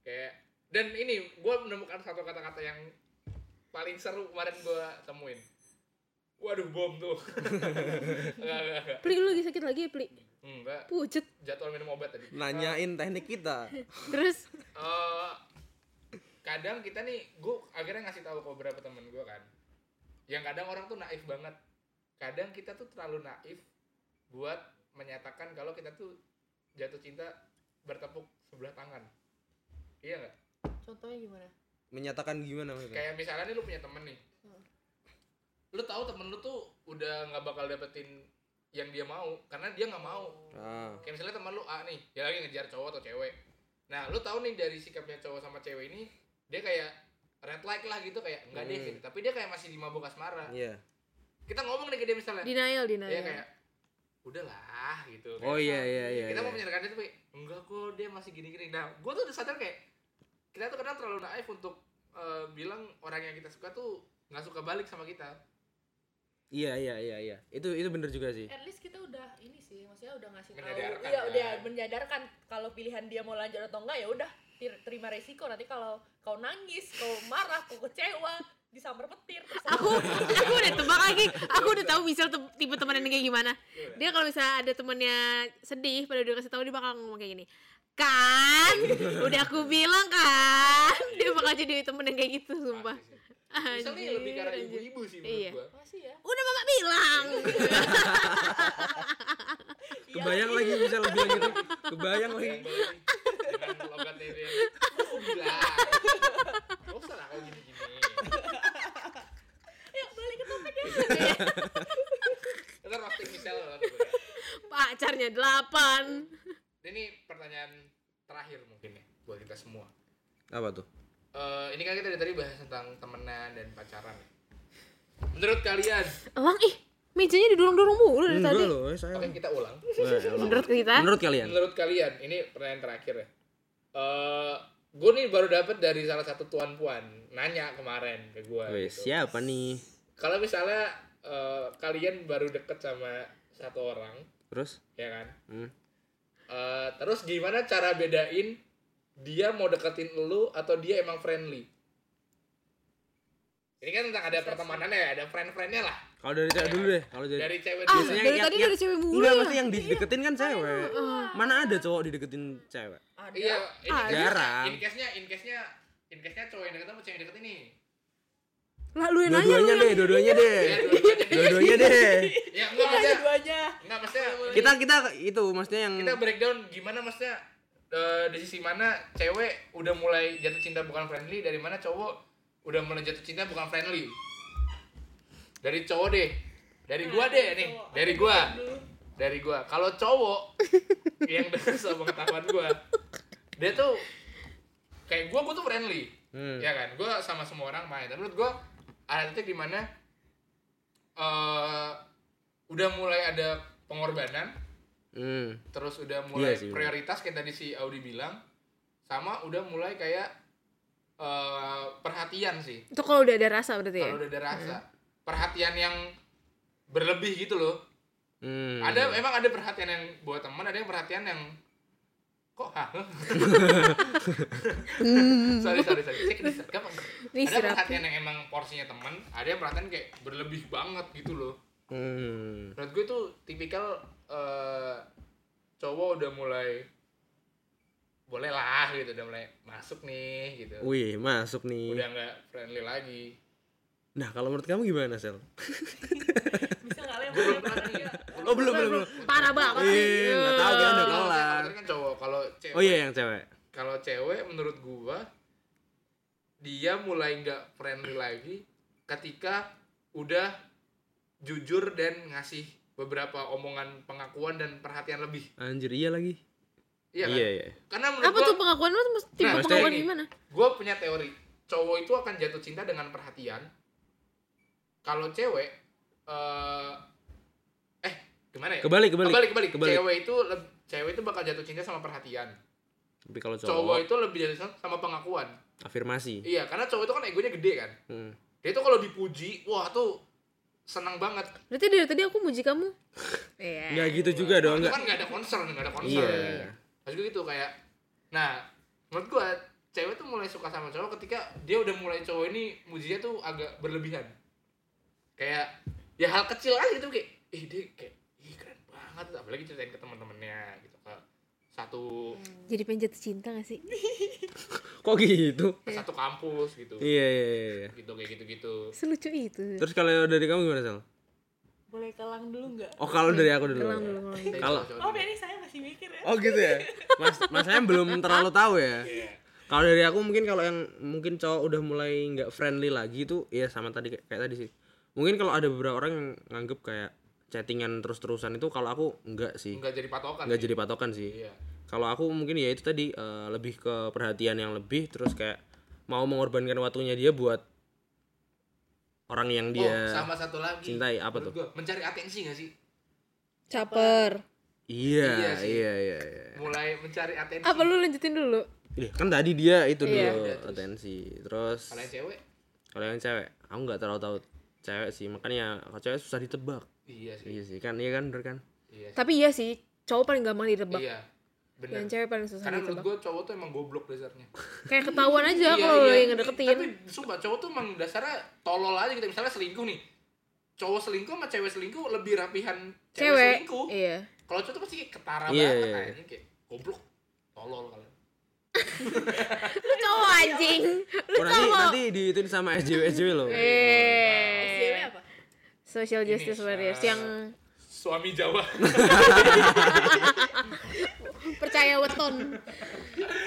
Kayak dan ini gue menemukan satu kata-kata yang paling seru kemarin gue temuin. Waduh bom tuh. <laughs> enggak enggak enggak.
Pli lu lagi sakit lagi ya Pli
Enggak.
pucet
Jadwal minum obat tadi.
nanyain teknik kita
terus
Eh, kadang kita nih gue akhirnya ngasih tahu ke beberapa temen gue kan. Yang kadang orang tuh naif banget. Kadang kita tuh terlalu naif buat menyatakan kalau kita tuh jatuh cinta bertepuk sebelah tangan. Iya nggak?
Contohnya gimana?
menyatakan gimana maksudnya
kayak misalnya nih lu punya temen nih lu tahu temen lu tuh udah nggak bakal dapetin yang dia mau karena dia nggak mau
ah
kayak misalnya temen lu A nih dia lagi ngejar cowok atau cewek nah lu tahu nih dari sikapnya cowok sama cewek ini dia kayak red light lah gitu kayak enggak deh
Hmm.
gitu. tapi dia kayak masih di mabuk asmara
iya
kita ngomong deh ke dia misalnya
denial
dia
denial
kayak udahlah gitu
oh iya iya iya
kita mau
iya.
menyerahkan dia tapi enggak kok dia masih gini-gini nah gue tuh udah sadar kayak kita tuh kadang terlalu naif untuk eh, bilang orang yang kita suka tuh nggak suka balik sama kita
iya iya iya iya itu itu bener juga sih
At least kita udah ini sih, maksudnya udah ngasih tahu.
Menyadarkan,
Iya,
kan?
udah menyadarkan kalau pilihan dia mau lanjut atau enggak ya udah tir- terima resiko nanti kalau kau nangis, kau marah, kau kecewa, disambar petir. terserah.
aku aku udah tebak lagi aku udah tahu misal te- tipe temennya kayak gimana dia kalau misalnya ada temennya sedih pada udah kasih tahu dia bakal ngomong kayak gini kan udah aku bilang kan dia bakal jadi temen yang kayak gitu sumpah
Pasti sih. misalnya lebih karena
Anjir, anjir.
ibu-ibu sih menurut
Iya.
gue
Makasih ya.
udah mama bilang
Iya,
kebayang lagi bisa lebih gitu kebayang lagi
yang balik dengan logatnya dia oh gila gak usah lah kalau gini-gini
Ayo balik ke topik ya.
kita roasting misalnya lah
pacarnya delapan
ya. ini pertanyaan terakhir mungkin ya buat kita semua
apa tuh
Eh, ini kan kita dari tadi bahas tentang temenan dan pacaran ya. menurut kalian
emang ih mejanya didorong-dorong mulu dari
enggak
tadi
loh eh, saya
oke kita ulang
Wah, elah.
menurut kita
menurut kalian
menurut kalian ini pertanyaan terakhir ya Eh, gue nih baru dapet dari salah satu tuan puan nanya kemarin ke gue
Wih,
gitu.
siapa nih
kalau misalnya eh, kalian baru deket sama satu orang
terus
ya kan
Hmm.
Eh, terus gimana cara bedain dia mau deketin lu atau dia emang friendly ini kan tentang ada pertemanannya ya, ada friend-friendnya lah
kalau dari cewek dulu deh kalau dari
dari cewek
ah
dulu.
Biasanya
dari
yang-
tadi
yang-
dari cewek mulu
enggak
ya
maksudnya yang dideketin kan cewek
Oh.
mana ada cowok dideketin cewek
Ada.
Iya, ini
Ah,
jarang.
In case-nya, in case-nya, in case-nya cowok yang deket sama cewek yang deket ini.
lah lu yang nanya lu
dua-duanya
yang-
deh dua-duanya deh
<laughs> Ya, dua-duanya deh.
dua-duanya deh
Ya enggak maksudnya,
Dua-duanya.
enggak maksudnya. Kita
kita kita itu maksudnya yang
kita breakdown gimana maksudnya eh, di sisi mana cewek udah mulai jatuh cinta bukan friendly, dari mana cowok udah mulai jatuh cinta bukan friendly. Dari cowok deh. Nah, Dari gua deh nih, dari gua. Dari gua. Kalau cowok yang denger sama pengetahuan gua, dia tuh kayak gua gua tuh friendly.
Hmm.
ya kan gue sama semua orang main tapi menurut gue ada titik di mana eh udah mulai ada pengorbanan
Hmm.
terus udah mulai
Iya sih, bener.
prioritas kayak tadi si Audi bilang sama udah mulai kayak eh perhatian sih
itu kalau udah ada rasa berarti ya
kalau udah ada rasa perhatian yang berlebih gitu loh
Hmm.
ada emang ada perhatian yang buat teman ada yang perhatian yang kok hah <laughs> sorry sorry sorry cek di Instagram. ada
Ini istirahat.
perhatian yang emang porsinya teman ada yang perhatian kayak berlebih banget gitu loh
Hmm.
menurut gue tuh tipikal eh, cowok udah mulai boleh lah gitu udah mulai masuk nih gitu
Wih, masuk nih.
udah nggak friendly lagi
Nah, kalau menurut kamu gimana, Sel?
Bisa enggak
gue belum
lempar
pernah nih
ya?
gue
Oh, belum, belum, belum.
Parah banget
Ih,
sih.
Iya, nggak tahu kita Oh, udah kelar.
Kan cowok kalau cewek.
Oh iya yang cewek.
Kalau cewek menurut gua dia mulai nggak friendly lagi ketika udah jujur dan ngasih beberapa omongan pengakuan dan perhatian lebih.
Anjir iya lagi.
Iya kan?
Iya, iya.
Karena menurut
Apa
gua,
tuh pengakuan lu? Mas- Tipe
Nah,
maksudnya
pengakuan
ini.
gimana?
gue punya teori cowok itu akan jatuh cinta dengan perhatian kalau cewek eh eh gimana ya
Kebalik, kebalik.
kebalik, kebalik.
Kebalik.
cewek itu leb- cewek itu bakal jatuh cinta sama perhatian
Tapi kalau
cowok,
cowok,
itu lebih jatuh cinta sama pengakuan
afirmasi.
iya karena cowok itu kan egonya gede kan
Hmm.
dia itu kalau dipuji wah tuh senang banget
Berarti dari tadi aku muji kamu. Iya.
Enggak gitu juga dong,
Itu
enggak.
kan nggak ada concern nggak ada concern
Iya.
maksud gitu kayak nah menurut gua cewek tuh mulai suka sama cowok ketika dia udah mulai cowok ini mujinya tuh agak berlebihan kayak ya hal kecil aja gitu kayak ih dia kayak ih keren banget apalagi ceritain ke teman-temannya gitu ke satu
Jadi pengen jatuh cinta gak sih?
Kok gitu?
iya.
ke satu kampus gitu
Iya, iya, iya, iya.
gitu kayak gitu gitu
Selucu itu.
Terus kalau dari kamu gimana, Sal?
Boleh kelang dulu nggak?
Oh, kalau dari aku dulu.
Kelang dulu,
Kalau
kelang.
Oh,
iya.
ini saya masih mikir ya.
Oh gitu ya. Mas Mas Em belum terlalu tahu ya.
Iya.
Kalau dari aku mungkin kalau yang mungkin cowok udah mulai nggak friendly lagi itu ya sama tadi kayak, kayak tadi sih. Mungkin kalau ada beberapa orang yang nganggep kayak chattingan terus-terusan itu kalau aku nggak sih.
nggak jadi patokan
nggak
sih.
jadi patokan sih.
iya
Kalau aku mungkin ya itu tadi eh, lebih ke perhatian yang lebih terus kayak mau mengorbankan waktunya dia buat orang yang
oh
dia
sama satu lagi
cintai apa
Menurut
tuh?
gua, mencari atensi gak sih
Caper.
Iya,
Iya sih.
iya, iya, iya.
mulai mencari atensi
Apa lu lanjutin dulu?
Ih, kan tadi dia itu
Iya.
dulu atensi. Terus
kalau yang cewek
Kalau yang cewek, aku nggak terlalu tahu cewek sih, makanya kalau cewek susah ditebak.
iya sih
Iya sih, kan iya kan bener kan?
iya sih.
Tapi iya sih, cowok paling gampang ditebak.
Iya, bener.
Yang cewek gitu, paling susah
Karena menurut
ditebak.
gue cowok tuh emang goblok dasarnya.
Kayak ketahuan aja Iya,
Iya,
kalau lu yang ngedeketin.
Iya, Tapi sumpah cowok tuh emang dasarnya tolol aja gitu. Misalnya selingkuh nih. Cowok selingkuh sama cewek selingkuh lebih rapihan cewek,
Cewek.
selingkuh.
Iya.
Kalau cowok tuh pasti kayak ketara
Iya,
banget
iya.
kayaknya kayak goblok, tolol kalau.
Lu cowok anjing. Lu
Oh, nanti nanti diituin sama SJW SJW loh.
Iya.
SJW apa?
Social Justice
Ini,
Warriors
eh,
yang
Suami Jawa.
percaya weton.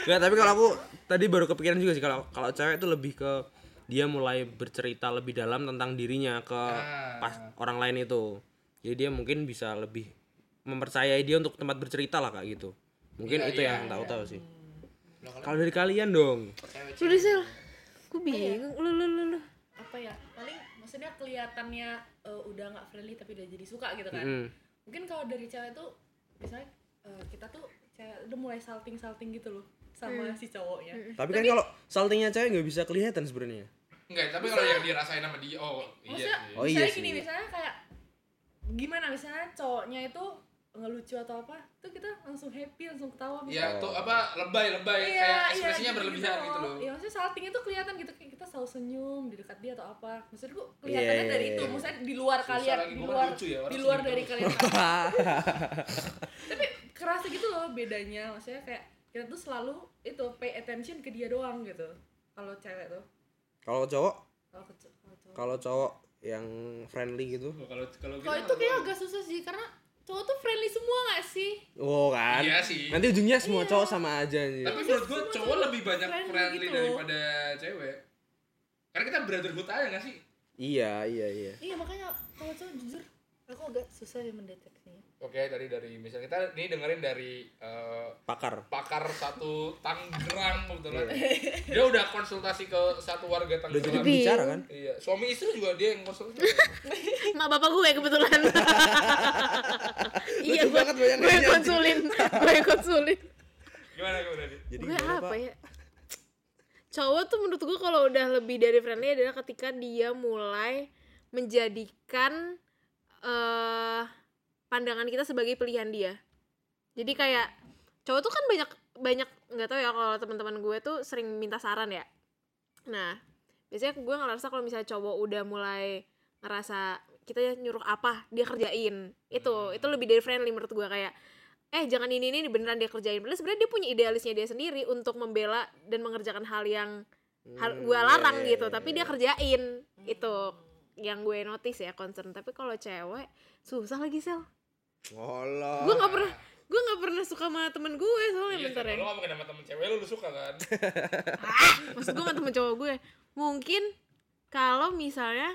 Nggak, tapi kalau aku tadi baru kepikiran juga sih kalau kalau cewek itu lebih ke dia mulai bercerita lebih dalam tentang dirinya ke
Ah.
pas orang lain itu. Jadi dia mungkin bisa lebih mempercayai dia untuk tempat bercerita lah kayak gitu. Mungkin
Iya,
itu yang tahu-tahu sih. Kalau dari kalian dong.
Lu disel. Gue bingung. Lu lu lu lu.
Apa ya? Paling maksudnya kelihatannya eh, udah nggak friendly tapi udah jadi suka gitu kan.
Mm.
Mungkin kalau dari cewek tuh misalnya eh, kita tuh cewek udah mulai salting-salting gitu loh sama si cowoknya.
Tapi kan kalau saltingnya cewek nggak bisa kelihatan
<laughs>
sebenarnya.
<laughs> Enggak, tapi kalau yang dirasain sama dia, oh iya
Maksudnya,
sih.
Oh, iya
misalnya
sih.
gini, misalnya kayak gimana misalnya cowoknya itu ngelucu atau apa, tuh kita langsung happy, langsung ketawa
Iya,
misalnya.
tuh apa lebay-lebay
Iya,
kayak ekspresinya berlebihan gitu loh.
Iya, maksudnya salting itu kelihatan gitu kayak kita selalu senyum di dekat dia atau apa. Maksud gue kelihatannya
Iya,
dari
iya,
itu,
iya.
maksudnya di luar
Susah
kalian,
lagi,
di
gua kan
luar
lucu ya, orang
di luar
senyum
dari
terus.
kalian. Tapi kerasa gitu loh bedanya, maksudnya kayak kita tuh selalu itu pay attention ke dia doang gitu. Kalau cewek tuh,
Kalau cowok
kalau ke kalau cowok.
kalau cowok yang friendly gitu
Kalau kalau
Kalau itu kayak agak susah sih karena cowok tuh friendly semua gak sih?
wow kan
Iya sih.
nanti ujungnya semua cowok sama aja anjir.
Tapi menurut gue
Iya, semua
cowok
cowok
lebih banyak
friendly
friendly
gitu.
daripada cewek. Karena kita brotherhood aja gak sih?
iya iya iya
Iya makanya kalau cowok jujur aku agak susah ya mendeteksinya.
Oke, dari dari misalnya kita nih dengerin dari eh,
pakar
pakar satu Tangerang kebetulan. Dia udah konsultasi ke satu warga
udah jadi
Tangerang.
bicara kan
Iya, suami istri juga dia yang konsultasi.
Mak bapak gue
<laughs>
kebetulan. iya
Lucu
gue
banget banyak
gue
nanya.
konsulin. gue konsulin.
gimana gimana Di?
jadi
Gue
gimana,
apa
Pak?
ya? Cowok tuh menurut gue kalau udah lebih dari friendly adalah ketika dia mulai menjadikan eh pandangan kita sebagai pilihan dia. Jadi kayak cowok tuh kan banyak banyak nggak tahu ya kalau teman-teman gue tuh sering minta saran ya. Nah, biasanya gue ngerasa kalau misalnya cowok udah mulai ngerasa kita ya nyuruh apa dia kerjain itu
Hmm.
itu lebih dari friendly menurut gue kayak eh jangan ini ini ini, beneran dia kerjain padahal sebenarnya dia punya idealisnya dia sendiri untuk membela dan mengerjakan hal yang hal
Hmm,
Hmm,
gue
iya,
iya,
larang gitu tapi dia kerjain gitu,
Ah.
itu yang gue notice ya concern tapi kalau cewek susah lagi sel
Ngolah.
Gue nggak pernah gue nggak pernah suka sama temen gue soalnya
Iya,
bentar ya.
kalau lu ngomongin sama temen cewek lu, lu suka kan?
Ah, maksud gue sama temen cowok gue. Mungkin kalau misalnya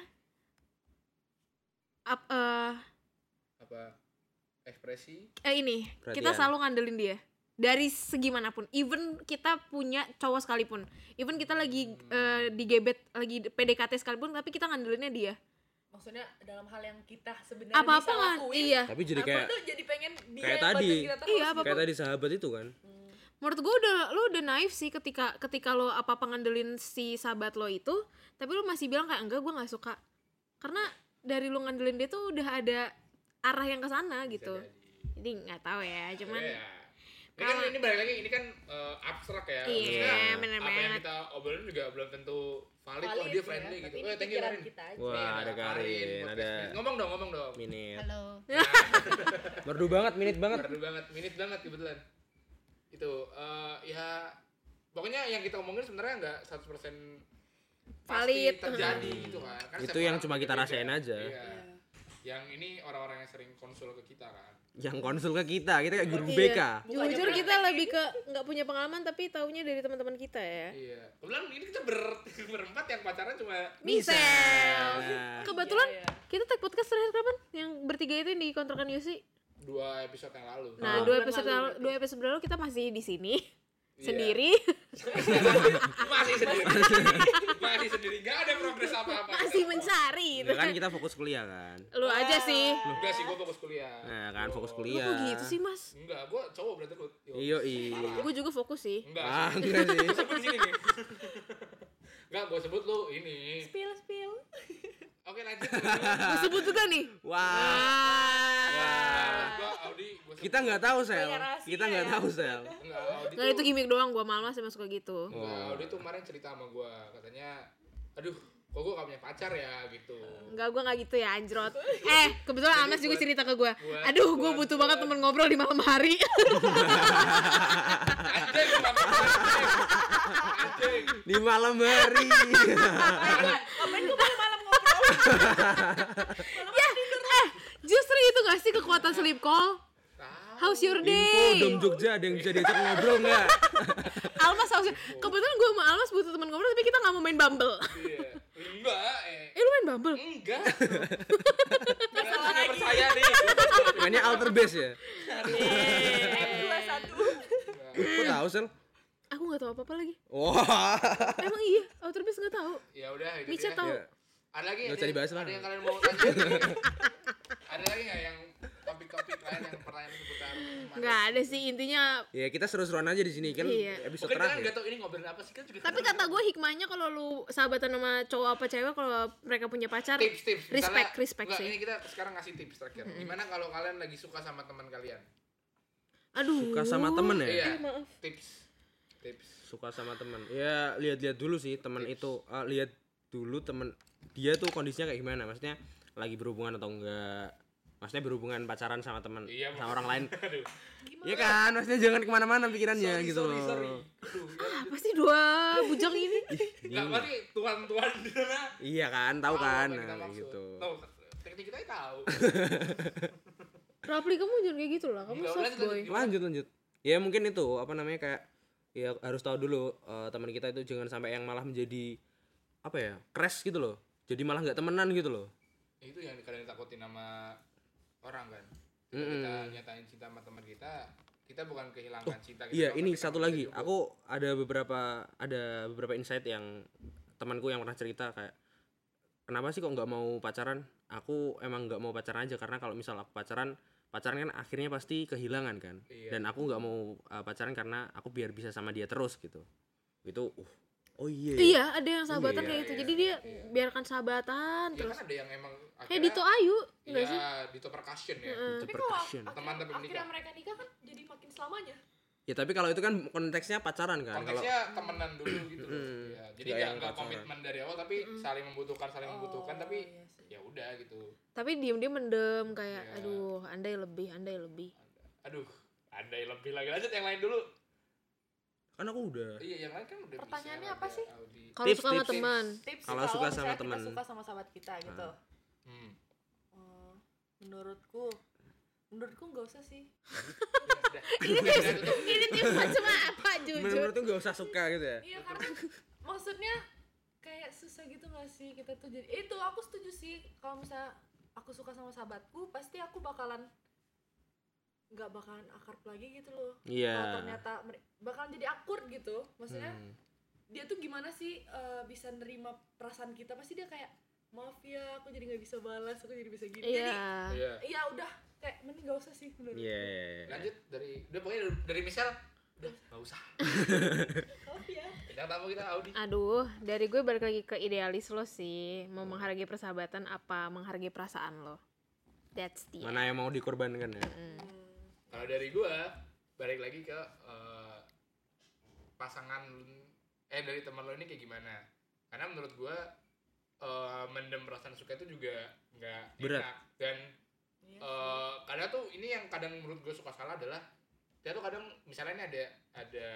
ap, eh,
Apa? Ekspresi?
eh, ini kita
Perhatian.
selalu ngandelin dia dari segi manapun. Even kita punya cowok sekalipun, even kita lagi eh, digebet lagi PDKT sekalipun, tapi kita ngandelinnya dia.
maksudnya dalam hal yang kita sebenarnya
Apa apa
bisa
kan?
lakuin
Iya.
Tapi jadi
apa
kayak
tuh jadi pengen dia
kayak
yang bantu
tadi.
kita terus
Iya, apa
kayak tadi sahabat itu kan.
menurut gue udah lo udah naif sih ketika ketika lo apa apa ngandelin si sahabat lo itu tapi lo masih bilang kayak enggak gue nggak suka karena dari lo ngandelin dia tuh udah ada arah yang ke sana gitu jadi nggak tahu ya cuman
Iya. Ini kan
Kalau-
ini balik lagi, ini kan eh, abstrak ya.
Iya,
Maksudnya,
bener
Apa yang
banget.
kita obrolin juga belum tentu valid.
"Oh,
Wah,
valid
dia
ya,
friendly
tapi
gitu.
ini
Eh, thank you
pikiran
Karin.
kita aja.
Iya,
Nih,
Wah, ada Karin,
podcast
ada
minute. Ngomong dong, ngomong dong.
Minit.
Halo.
<laughs> Merdu banget, minit banget.
Baru banget, minit banget kebetulan. Itu eh, ya pokoknya yang kita omongin sebenarnya nggak 100% pasti
Valid. Hmm.
terjadi gitu kan. Kan
Itu
setiap
yang
orang
cuma kita
beda-beda.
rasain aja.
Iya. Yang ini orang-orang yang sering konsul ke kita kan.
Yang konsul ke kita, kita kayak guru
Iya.
BK.
jujur kita lebih ke nggak punya pengalaman tapi taunya dari teman-teman kita ya
Iya. Kebetulan ini kita ber <laughs> berempat yang pacaran cuma
misal Iya,
Nah,
kebetulan kita tag podcast terakhir kapan yang bertiga itu yang di kontrakan Yusi
dua episode yang lalu.
nah
Ah.
dua episode lalu- dua episode lalu kita masih di sini
Iya.
sendiri
<laughs> Masih sendiri. Masih sendiri. Gak ada progres apa-apa.
<laughs> masih mencari Iya. gitu
kan kita fokus kuliah kan.
lu aja sih
Enggak sih, gue fokus kuliah.
Nah, kan fokus
Lu
kuliah.
kok gitu sih mas?
Enggak, gue cowok berarti lu. Yo.
Iya, iya.
Gue juga fokus sih
Enggak. <laughs>
Ah,
sih.
enggak sih.
Gua sebut di sini nih. Enggak, gue sebut lu ini.
spill spill
Oke, lanjut.
Gue sebut juga nih
Wah,
Gue Audi, gue sebut.
kita nggak tahu sel.
Kayak rahasia
Kita nggak
ya.
tahu sel.
Enggak, Audi
Nah itu gimmick doang, gue malu masih suka gitu
Enggak,
Oh.
Audi tuh kemarin cerita sama gue. Katanya, aduh, kok gue gak punya pacar ya gitu.
Enggak, gue gak gitu ya anjrot Eh, kebetulan Ames juga
buat-
cerita ke gue
buat-
Aduh, gue
buat-
butuh
buat-
banget temen ngobrol di malam <laughs> hari
Anjing, gua gak punya pacar. Anjing.
Di malam hari.
ngapain gue malam-malam ngobrol
Ya, eh, justru itu gak sih kekuatan sleep call?
Tahu.
How's your
Info Dom
day?
Jogja ada yang bisa diajak ngobrol nggak?
Almas, how's your... Kebetulan gue sama Almas butuh temen ngobrol Tapi kita gak mau main Bumble <laughs>
Iya. Enggak, eh.
Eh, lu main Bumble?
<laughs> Enggak. Kenapa nggak percaya nih?
Mainnya alter base ya.
M21
Kok tahu sel?
Eh, Aku gak tahu apa-apa lagi
Wah.
Emang iya, Outer Beast gak tahu
Ya udah gitu
Mica
ya.
tahu
Ya.
Ada lagi
Nggak
ada,
usah dibahas lah.
ada yang kalian mau tanya? ada lagi nggak yang topik-topik lain yang pertanyaan seputar kemarin?
Nggak ada sih, intinya
Ya kita seru-seruan aja di sini kan
Iya.
episode
Mungkin kalian nggak
terakhir.
tahu ini ngobrolin apa sih kan juga
Tapi kata gue hikmahnya kalau lu sahabatan sama cowok apa cewek kalau mereka punya pacar
tips-tips.
respect respect
nggak,
sih.
Ini kita sekarang ngasih tips terakhir. Gimana kalau kalian lagi suka sama teman kalian?
Aduh.
Suka sama temen ya?
Iya.
maaf.
Tips. Tips.
Suka sama temen. Ya lihat-lihat dulu sih temen itu. Eh, lihat dulu temen dia tuh kondisinya kayak gimana? Maksudnya lagi berhubungan atau enggak? Maksudnya berhubungan pacaran sama temen
Iya,
sama orang lain.
Aduh.
Iya kan? Maksudnya jangan kemana-mana pikirannya
Sorry,
gitu.
sorry,
loh.
sorry. Aduh, ya.
Apa sih dua bujang ini?
<laughs>
Nggak, berarti tuan-tuan di sana
Iya kan? Tahu kan?
apa yang kita
Nah,
maksud.
gitu.
Tahu, teknik kita tahu.
Rafli kamu jangan kayak gitu lah, kamu
Nggak,
soft
udah,
boy.
Iya, lanjut,
lanjut lanjut ya mungkin itu apa namanya kayak ya harus tahu dulu eh, teman kita itu jangan sampai yang malah menjadi apa ya crash gitu loh jadi malah nggak temenan gitu loh
Ya itu yang kalian takutin sama orang kan Ketika kita nyatain cinta sama teman kita kita bukan kehilangan cinta kita
iya
doang,
ini
tapi
satu
teman
lagi
kita juga.
aku ada beberapa ada beberapa insight yang temanku yang pernah cerita kayak kenapa sih kok nggak mau pacaran aku emang nggak mau pacaran aja karena kalau misal aku pacaran pacaran kan akhirnya pasti kehilangan kan
Iya.
dan aku nggak mau uh, pacaran karena aku biar bisa sama dia terus gitu itu uh, oh iya
Iya, ada yang sahabatan
Iya,
kayak gitu. Jadi dia biarkan sahabatan
ya
terus.
kan ada yang emang
Kayak Dito Ayu,
ya
enggak sih?
Dito percussion ya
Itu
tapi kalau
percussion.
akhirnya-
Teman tapi
akhirnya
menikah.
mereka nikah kan jadi makin selamanya
Ya tapi kalau itu kan konteksnya pacaran kan. Kalau
konteksnya temenan dulu gitu loh ya, jadi
Nggak
nggak
yang
nggak
pacaran.
komitmen dari awal tapi saling membutuhkan
Oh.
saling membutuhkan tapi
Oh, iya
ya udah gitu
Tapi diem-diem mendem kayak aduh, andai lebih, andai lebih.
aduh ada yang lebih lagi lanjut yang lain dulu
kan aku udah.
iya yang lain kan udah bisa
Pertanyaannya
lah,
apa
ya,
sih?
Audi.
Kalau
Tips,
suka sama
tips,
<laughs>
teman,
tips
Kalau suka sama
misalnya
teman. Ah.
<laughs>
kita suka sama sahabat kita gitu
Hmm.
Hmm, menurutku menurutku nggak usah sih
Udah.
ini tips ini tips cuma apa jujur
menurut tuh gak usah suka gitu ya
iya karena maksudnya kayak susah gitu gak sih kita tuh jadi itu aku setuju sih kalau misalnya aku suka sama sahabatku pasti aku bakalan nggak bakalan akrab lagi gitu loh
Iya.
Kalau ternyata mere- bakalan jadi akur gitu maksudnya
Hmm.
dia tuh gimana sih eh, bisa nerima perasaan kita pasti dia kayak maaf ya aku jadi nggak bisa balas aku jadi bisa gini
iya
jadi
Iya.
iya udah kayak mending gak usah sih menurut
Iya.
Lanjut dari udah pokoknya dari- dari Michelle udah nggak usah.
maaf ya
Kita tamu kita Audi.
aduh dari gue balik lagi ke idealis lo sih mau menghargai persahabatan apa menghargai perasaan lo that's the Mm.
mana yang mau dikorbankan ya
Kalau dari gua balik lagi ke eh, pasangan lu- eh dari teman lo ini kayak gimana? Karena menurut gua eh, mendem perasaan suka itu juga nggak
Berat.
enak dan eh, kadang tuh ini yang kadang menurut gue suka salah adalah dia tuh kadang misalnya ini ada ada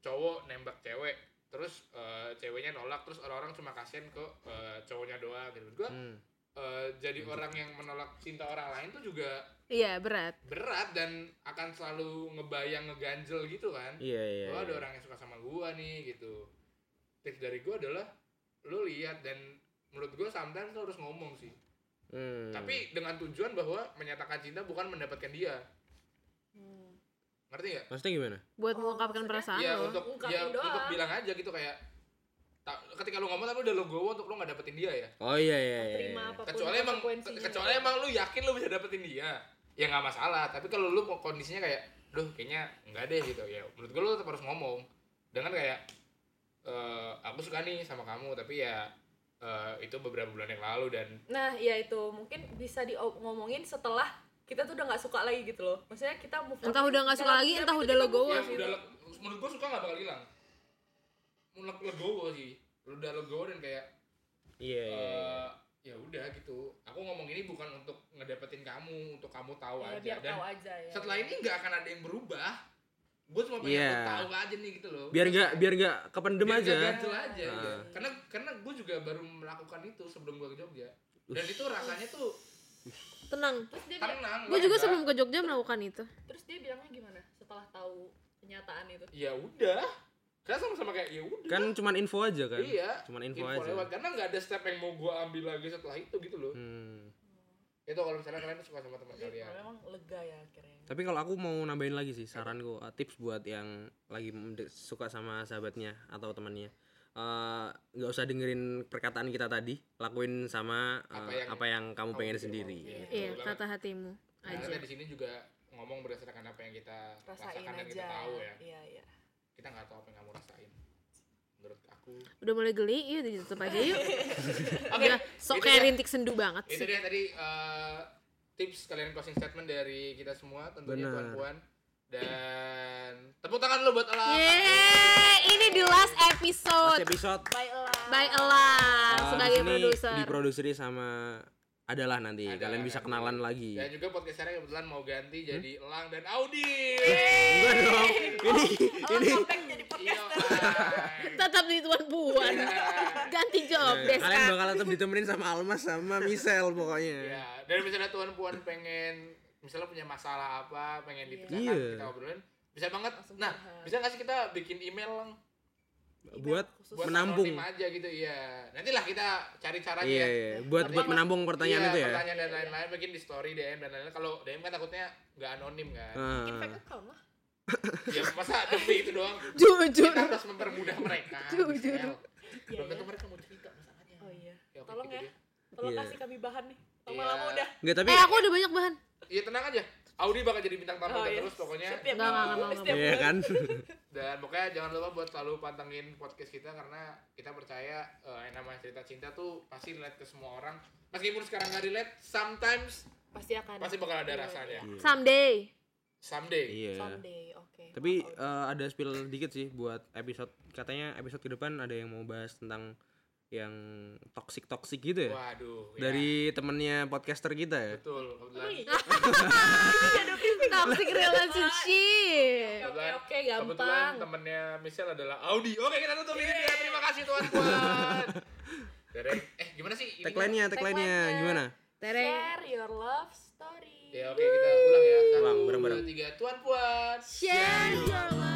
cowok nembak cewek terus eh, ceweknya nolak terus orang-orang cuma kasihan ke eh, cowoknya doang gitu. Menurut Gua
Hmm.
eh, jadi orang yang menolak cinta orang lain tuh juga
iya berat
berat dan akan selalu ngebayang ngeganjel gitu kan
iya iya
Wah, ada
iya.
orang yang suka sama gua nih gitu tips dari gua adalah lu lihat dan menurut gua sometimes lu harus ngomong sih
Hmm.
tapi dengan tujuan bahwa menyatakan cinta bukan mendapatkan dia Hmm. ngerti nggak
maksudnya gimana
buat
Oh,
mengungkapkan
maksudnya?
perasaan
ya
lo
untuk
Ungkapin
ya
doang.
untuk bilang aja gitu kayak ta- ketika lu ngomong tapi udah legowo untuk lu nggak dapetin dia ya
oh iya iya iya,
terima
iya.
apapun
kecuali emang
konsekuensinya.
kecuali emang lu yakin lu bisa dapetin dia ya nggak masalah tapi kalau lu kok kondisinya kayak duh kayaknya nggak deh gitu ya menurut gue lu tetap harus ngomong dengan kayak "Eh, aku suka nih sama kamu tapi ya eh, itu beberapa bulan yang lalu dan
Nah, iya itu mungkin bisa di ngomongin setelah kita tuh udah nggak suka lagi gitu loh. Maksudnya kita move on.
Entah udah nggak suka
Dalam-
lagi,
dalam
entah
itu
udah
kita
legowo
ya
move on gitu.
udah le- menurut gue suka nggak bakal hilang menurut legowo sih lu udah legowo dan kayak
iya iya, iya.
eh, ya udah gitu aku ngomong ini bukan untuk ngedapetin kamu untuk kamu tahu
Ya,
aja
biar
dan
tahu aja ya.
setelah ini nggak akan ada yang berubah gue cuma pengen
Iya.
lu tahu aja nih gitu loh
biar nggak biar nggak kependem
Biar
aja
nggak ganjel aja
Nah.
gitu. karena karena gue juga baru melakukan itu sebelum gue ke Jogja dan itu rasanya tuh
tenang
terus dia bi-
tenang
gue juga
lega.
sebelum ke Jogja melakukan itu
terus dia bilangnya gimana setelah tahu kenyataan itu?
ya udah kita sama-sama kayak ya udah
kan cuman info aja kan
iya
cuman info, aja
lewat. karena nggak ada step yang mau gue ambil lagi setelah itu gitu loh
hmm.
itu kalau misalnya kalian suka sama teman
Jadi
kalian
memang lega ya akhirnya.
tapi kalau aku mau nambahin lagi sih saranku eh, tips buat yang lagi mende- suka sama sahabatnya atau temannya Eh, nggak usah dengerin perkataan kita tadi lakuin sama eh, apa,
Apa yang-
yang, kamu
kamu
pengen
pikir
sendiri
mau. Iya.
iya
Betul banget.
kata hatimu
Nah,
aja
kita di sini juga ngomong berdasarkan apa yang kita
Rasain
rasakan dan
aja.
kita tahu ya
Iya, iya.
kita nggak tahu apa yang kamu rasain menurut aku
udah mulai geli yuk ditutup aja yuk
Oke,
Udah, sok
itu
kayak
dia.
rintik sendu banget
Itu
sih
dia tadi eh, tips kalian closing statement dari kita semua tentunya
Benar.
puan-puan dan tepuk tangan lu buat Elang.
Yeay, ini di last
Last
episode
episode
Bye lah.
by Elang
eh,
sebagai
di sini
produser
diproduseri sama adalah nanti
Adalah
kalian bisa
nanti.
kenalan lagi
Dan juga podcast saya kebetulan mau ganti jadi Elang dan Audi.
Hmm? Enggak dong. ini ini
Iya. Pak.
tetap di tuan
<laughs>
puan ganti job
Eh,
desk
kalian
Kak.
bakal tetap ditemenin sama Almas sama Michelle pokoknya
Ya, dan misalnya tuan puan pengen misalnya punya masalah apa, pengen dipecahkan
Iya.
kita obrolin. Bisa banget. Nah, bisa nggak sih kita bikin email lang
buat
buat
menampung
anonim aja gitu iya. Nantilah kita cari caranya ya.
iya iya. buat buat menampung
Iya,
pertanyaan itu ya
pertanyaan dan lain-lain mungkin di story DM dan lain-lain kalau DM kan takutnya nggak anonim kan
Hmm.
Nah,
Fake account lah.
ya masa demi itu
<laughs>
doang
jujur
kita harus mempermudah mereka
Jujur.
Michelle.
Iya,
belum tentu
iya.
mereka mau cerita masalahnya
Oh iya.
Ya, oke,
Tolong
gitu
ya.
deh.
Tolong
Iya.
kasih kami bahan nih.
Iya.
Lama-lama udah.
Enggak tapi
eh aku udah banyak bahan
iya tenang aja Audi bakal jadi bintang tamu kita
Oh, iya.
terus pokoknya
Setiap
Nggak, nggak,
minggu,
nggak, nggak.
setiap
Iya
bulan.
kan?
dan pokoknya jangan lupa buat selalu pantengin podcast kita karena kita percaya eh, yang namanya cerita cinta tuh pasti relate ke semua orang meskipun sekarang nggak relate sometimes
Pasti akan.
pasti bakal ada
Iya,
rasanya
iya.
someday
someday
Iya.
Someday, oke.
Tapi
Maaf, Audi.
eh, ada spill dikit sih buat episode katanya episode ke depan ada yang mau bahas tentang yang toxic toxic gitu ya.
waduh ya.
Dari temennya podcaster kita ya.
betul kebetulan
toxic
Iya.
relationship
Oke,
Kebetulan-
oke,
Kebetulan
gampang.
temennya Michelle adalah Audi. Oke, kita tutup ini ya. Terima kasih tuan-tuan. Dereng. Eh, gimana sih? ininya?
Tagline-nya, tagline-nya
Tagline-nya.
gimana?
tereng
Share your love story.
Ya oke kita ulang ya. Satu,
Ulang, bareng-bareng.
dua, tiga. Tuan puan.
Share your love.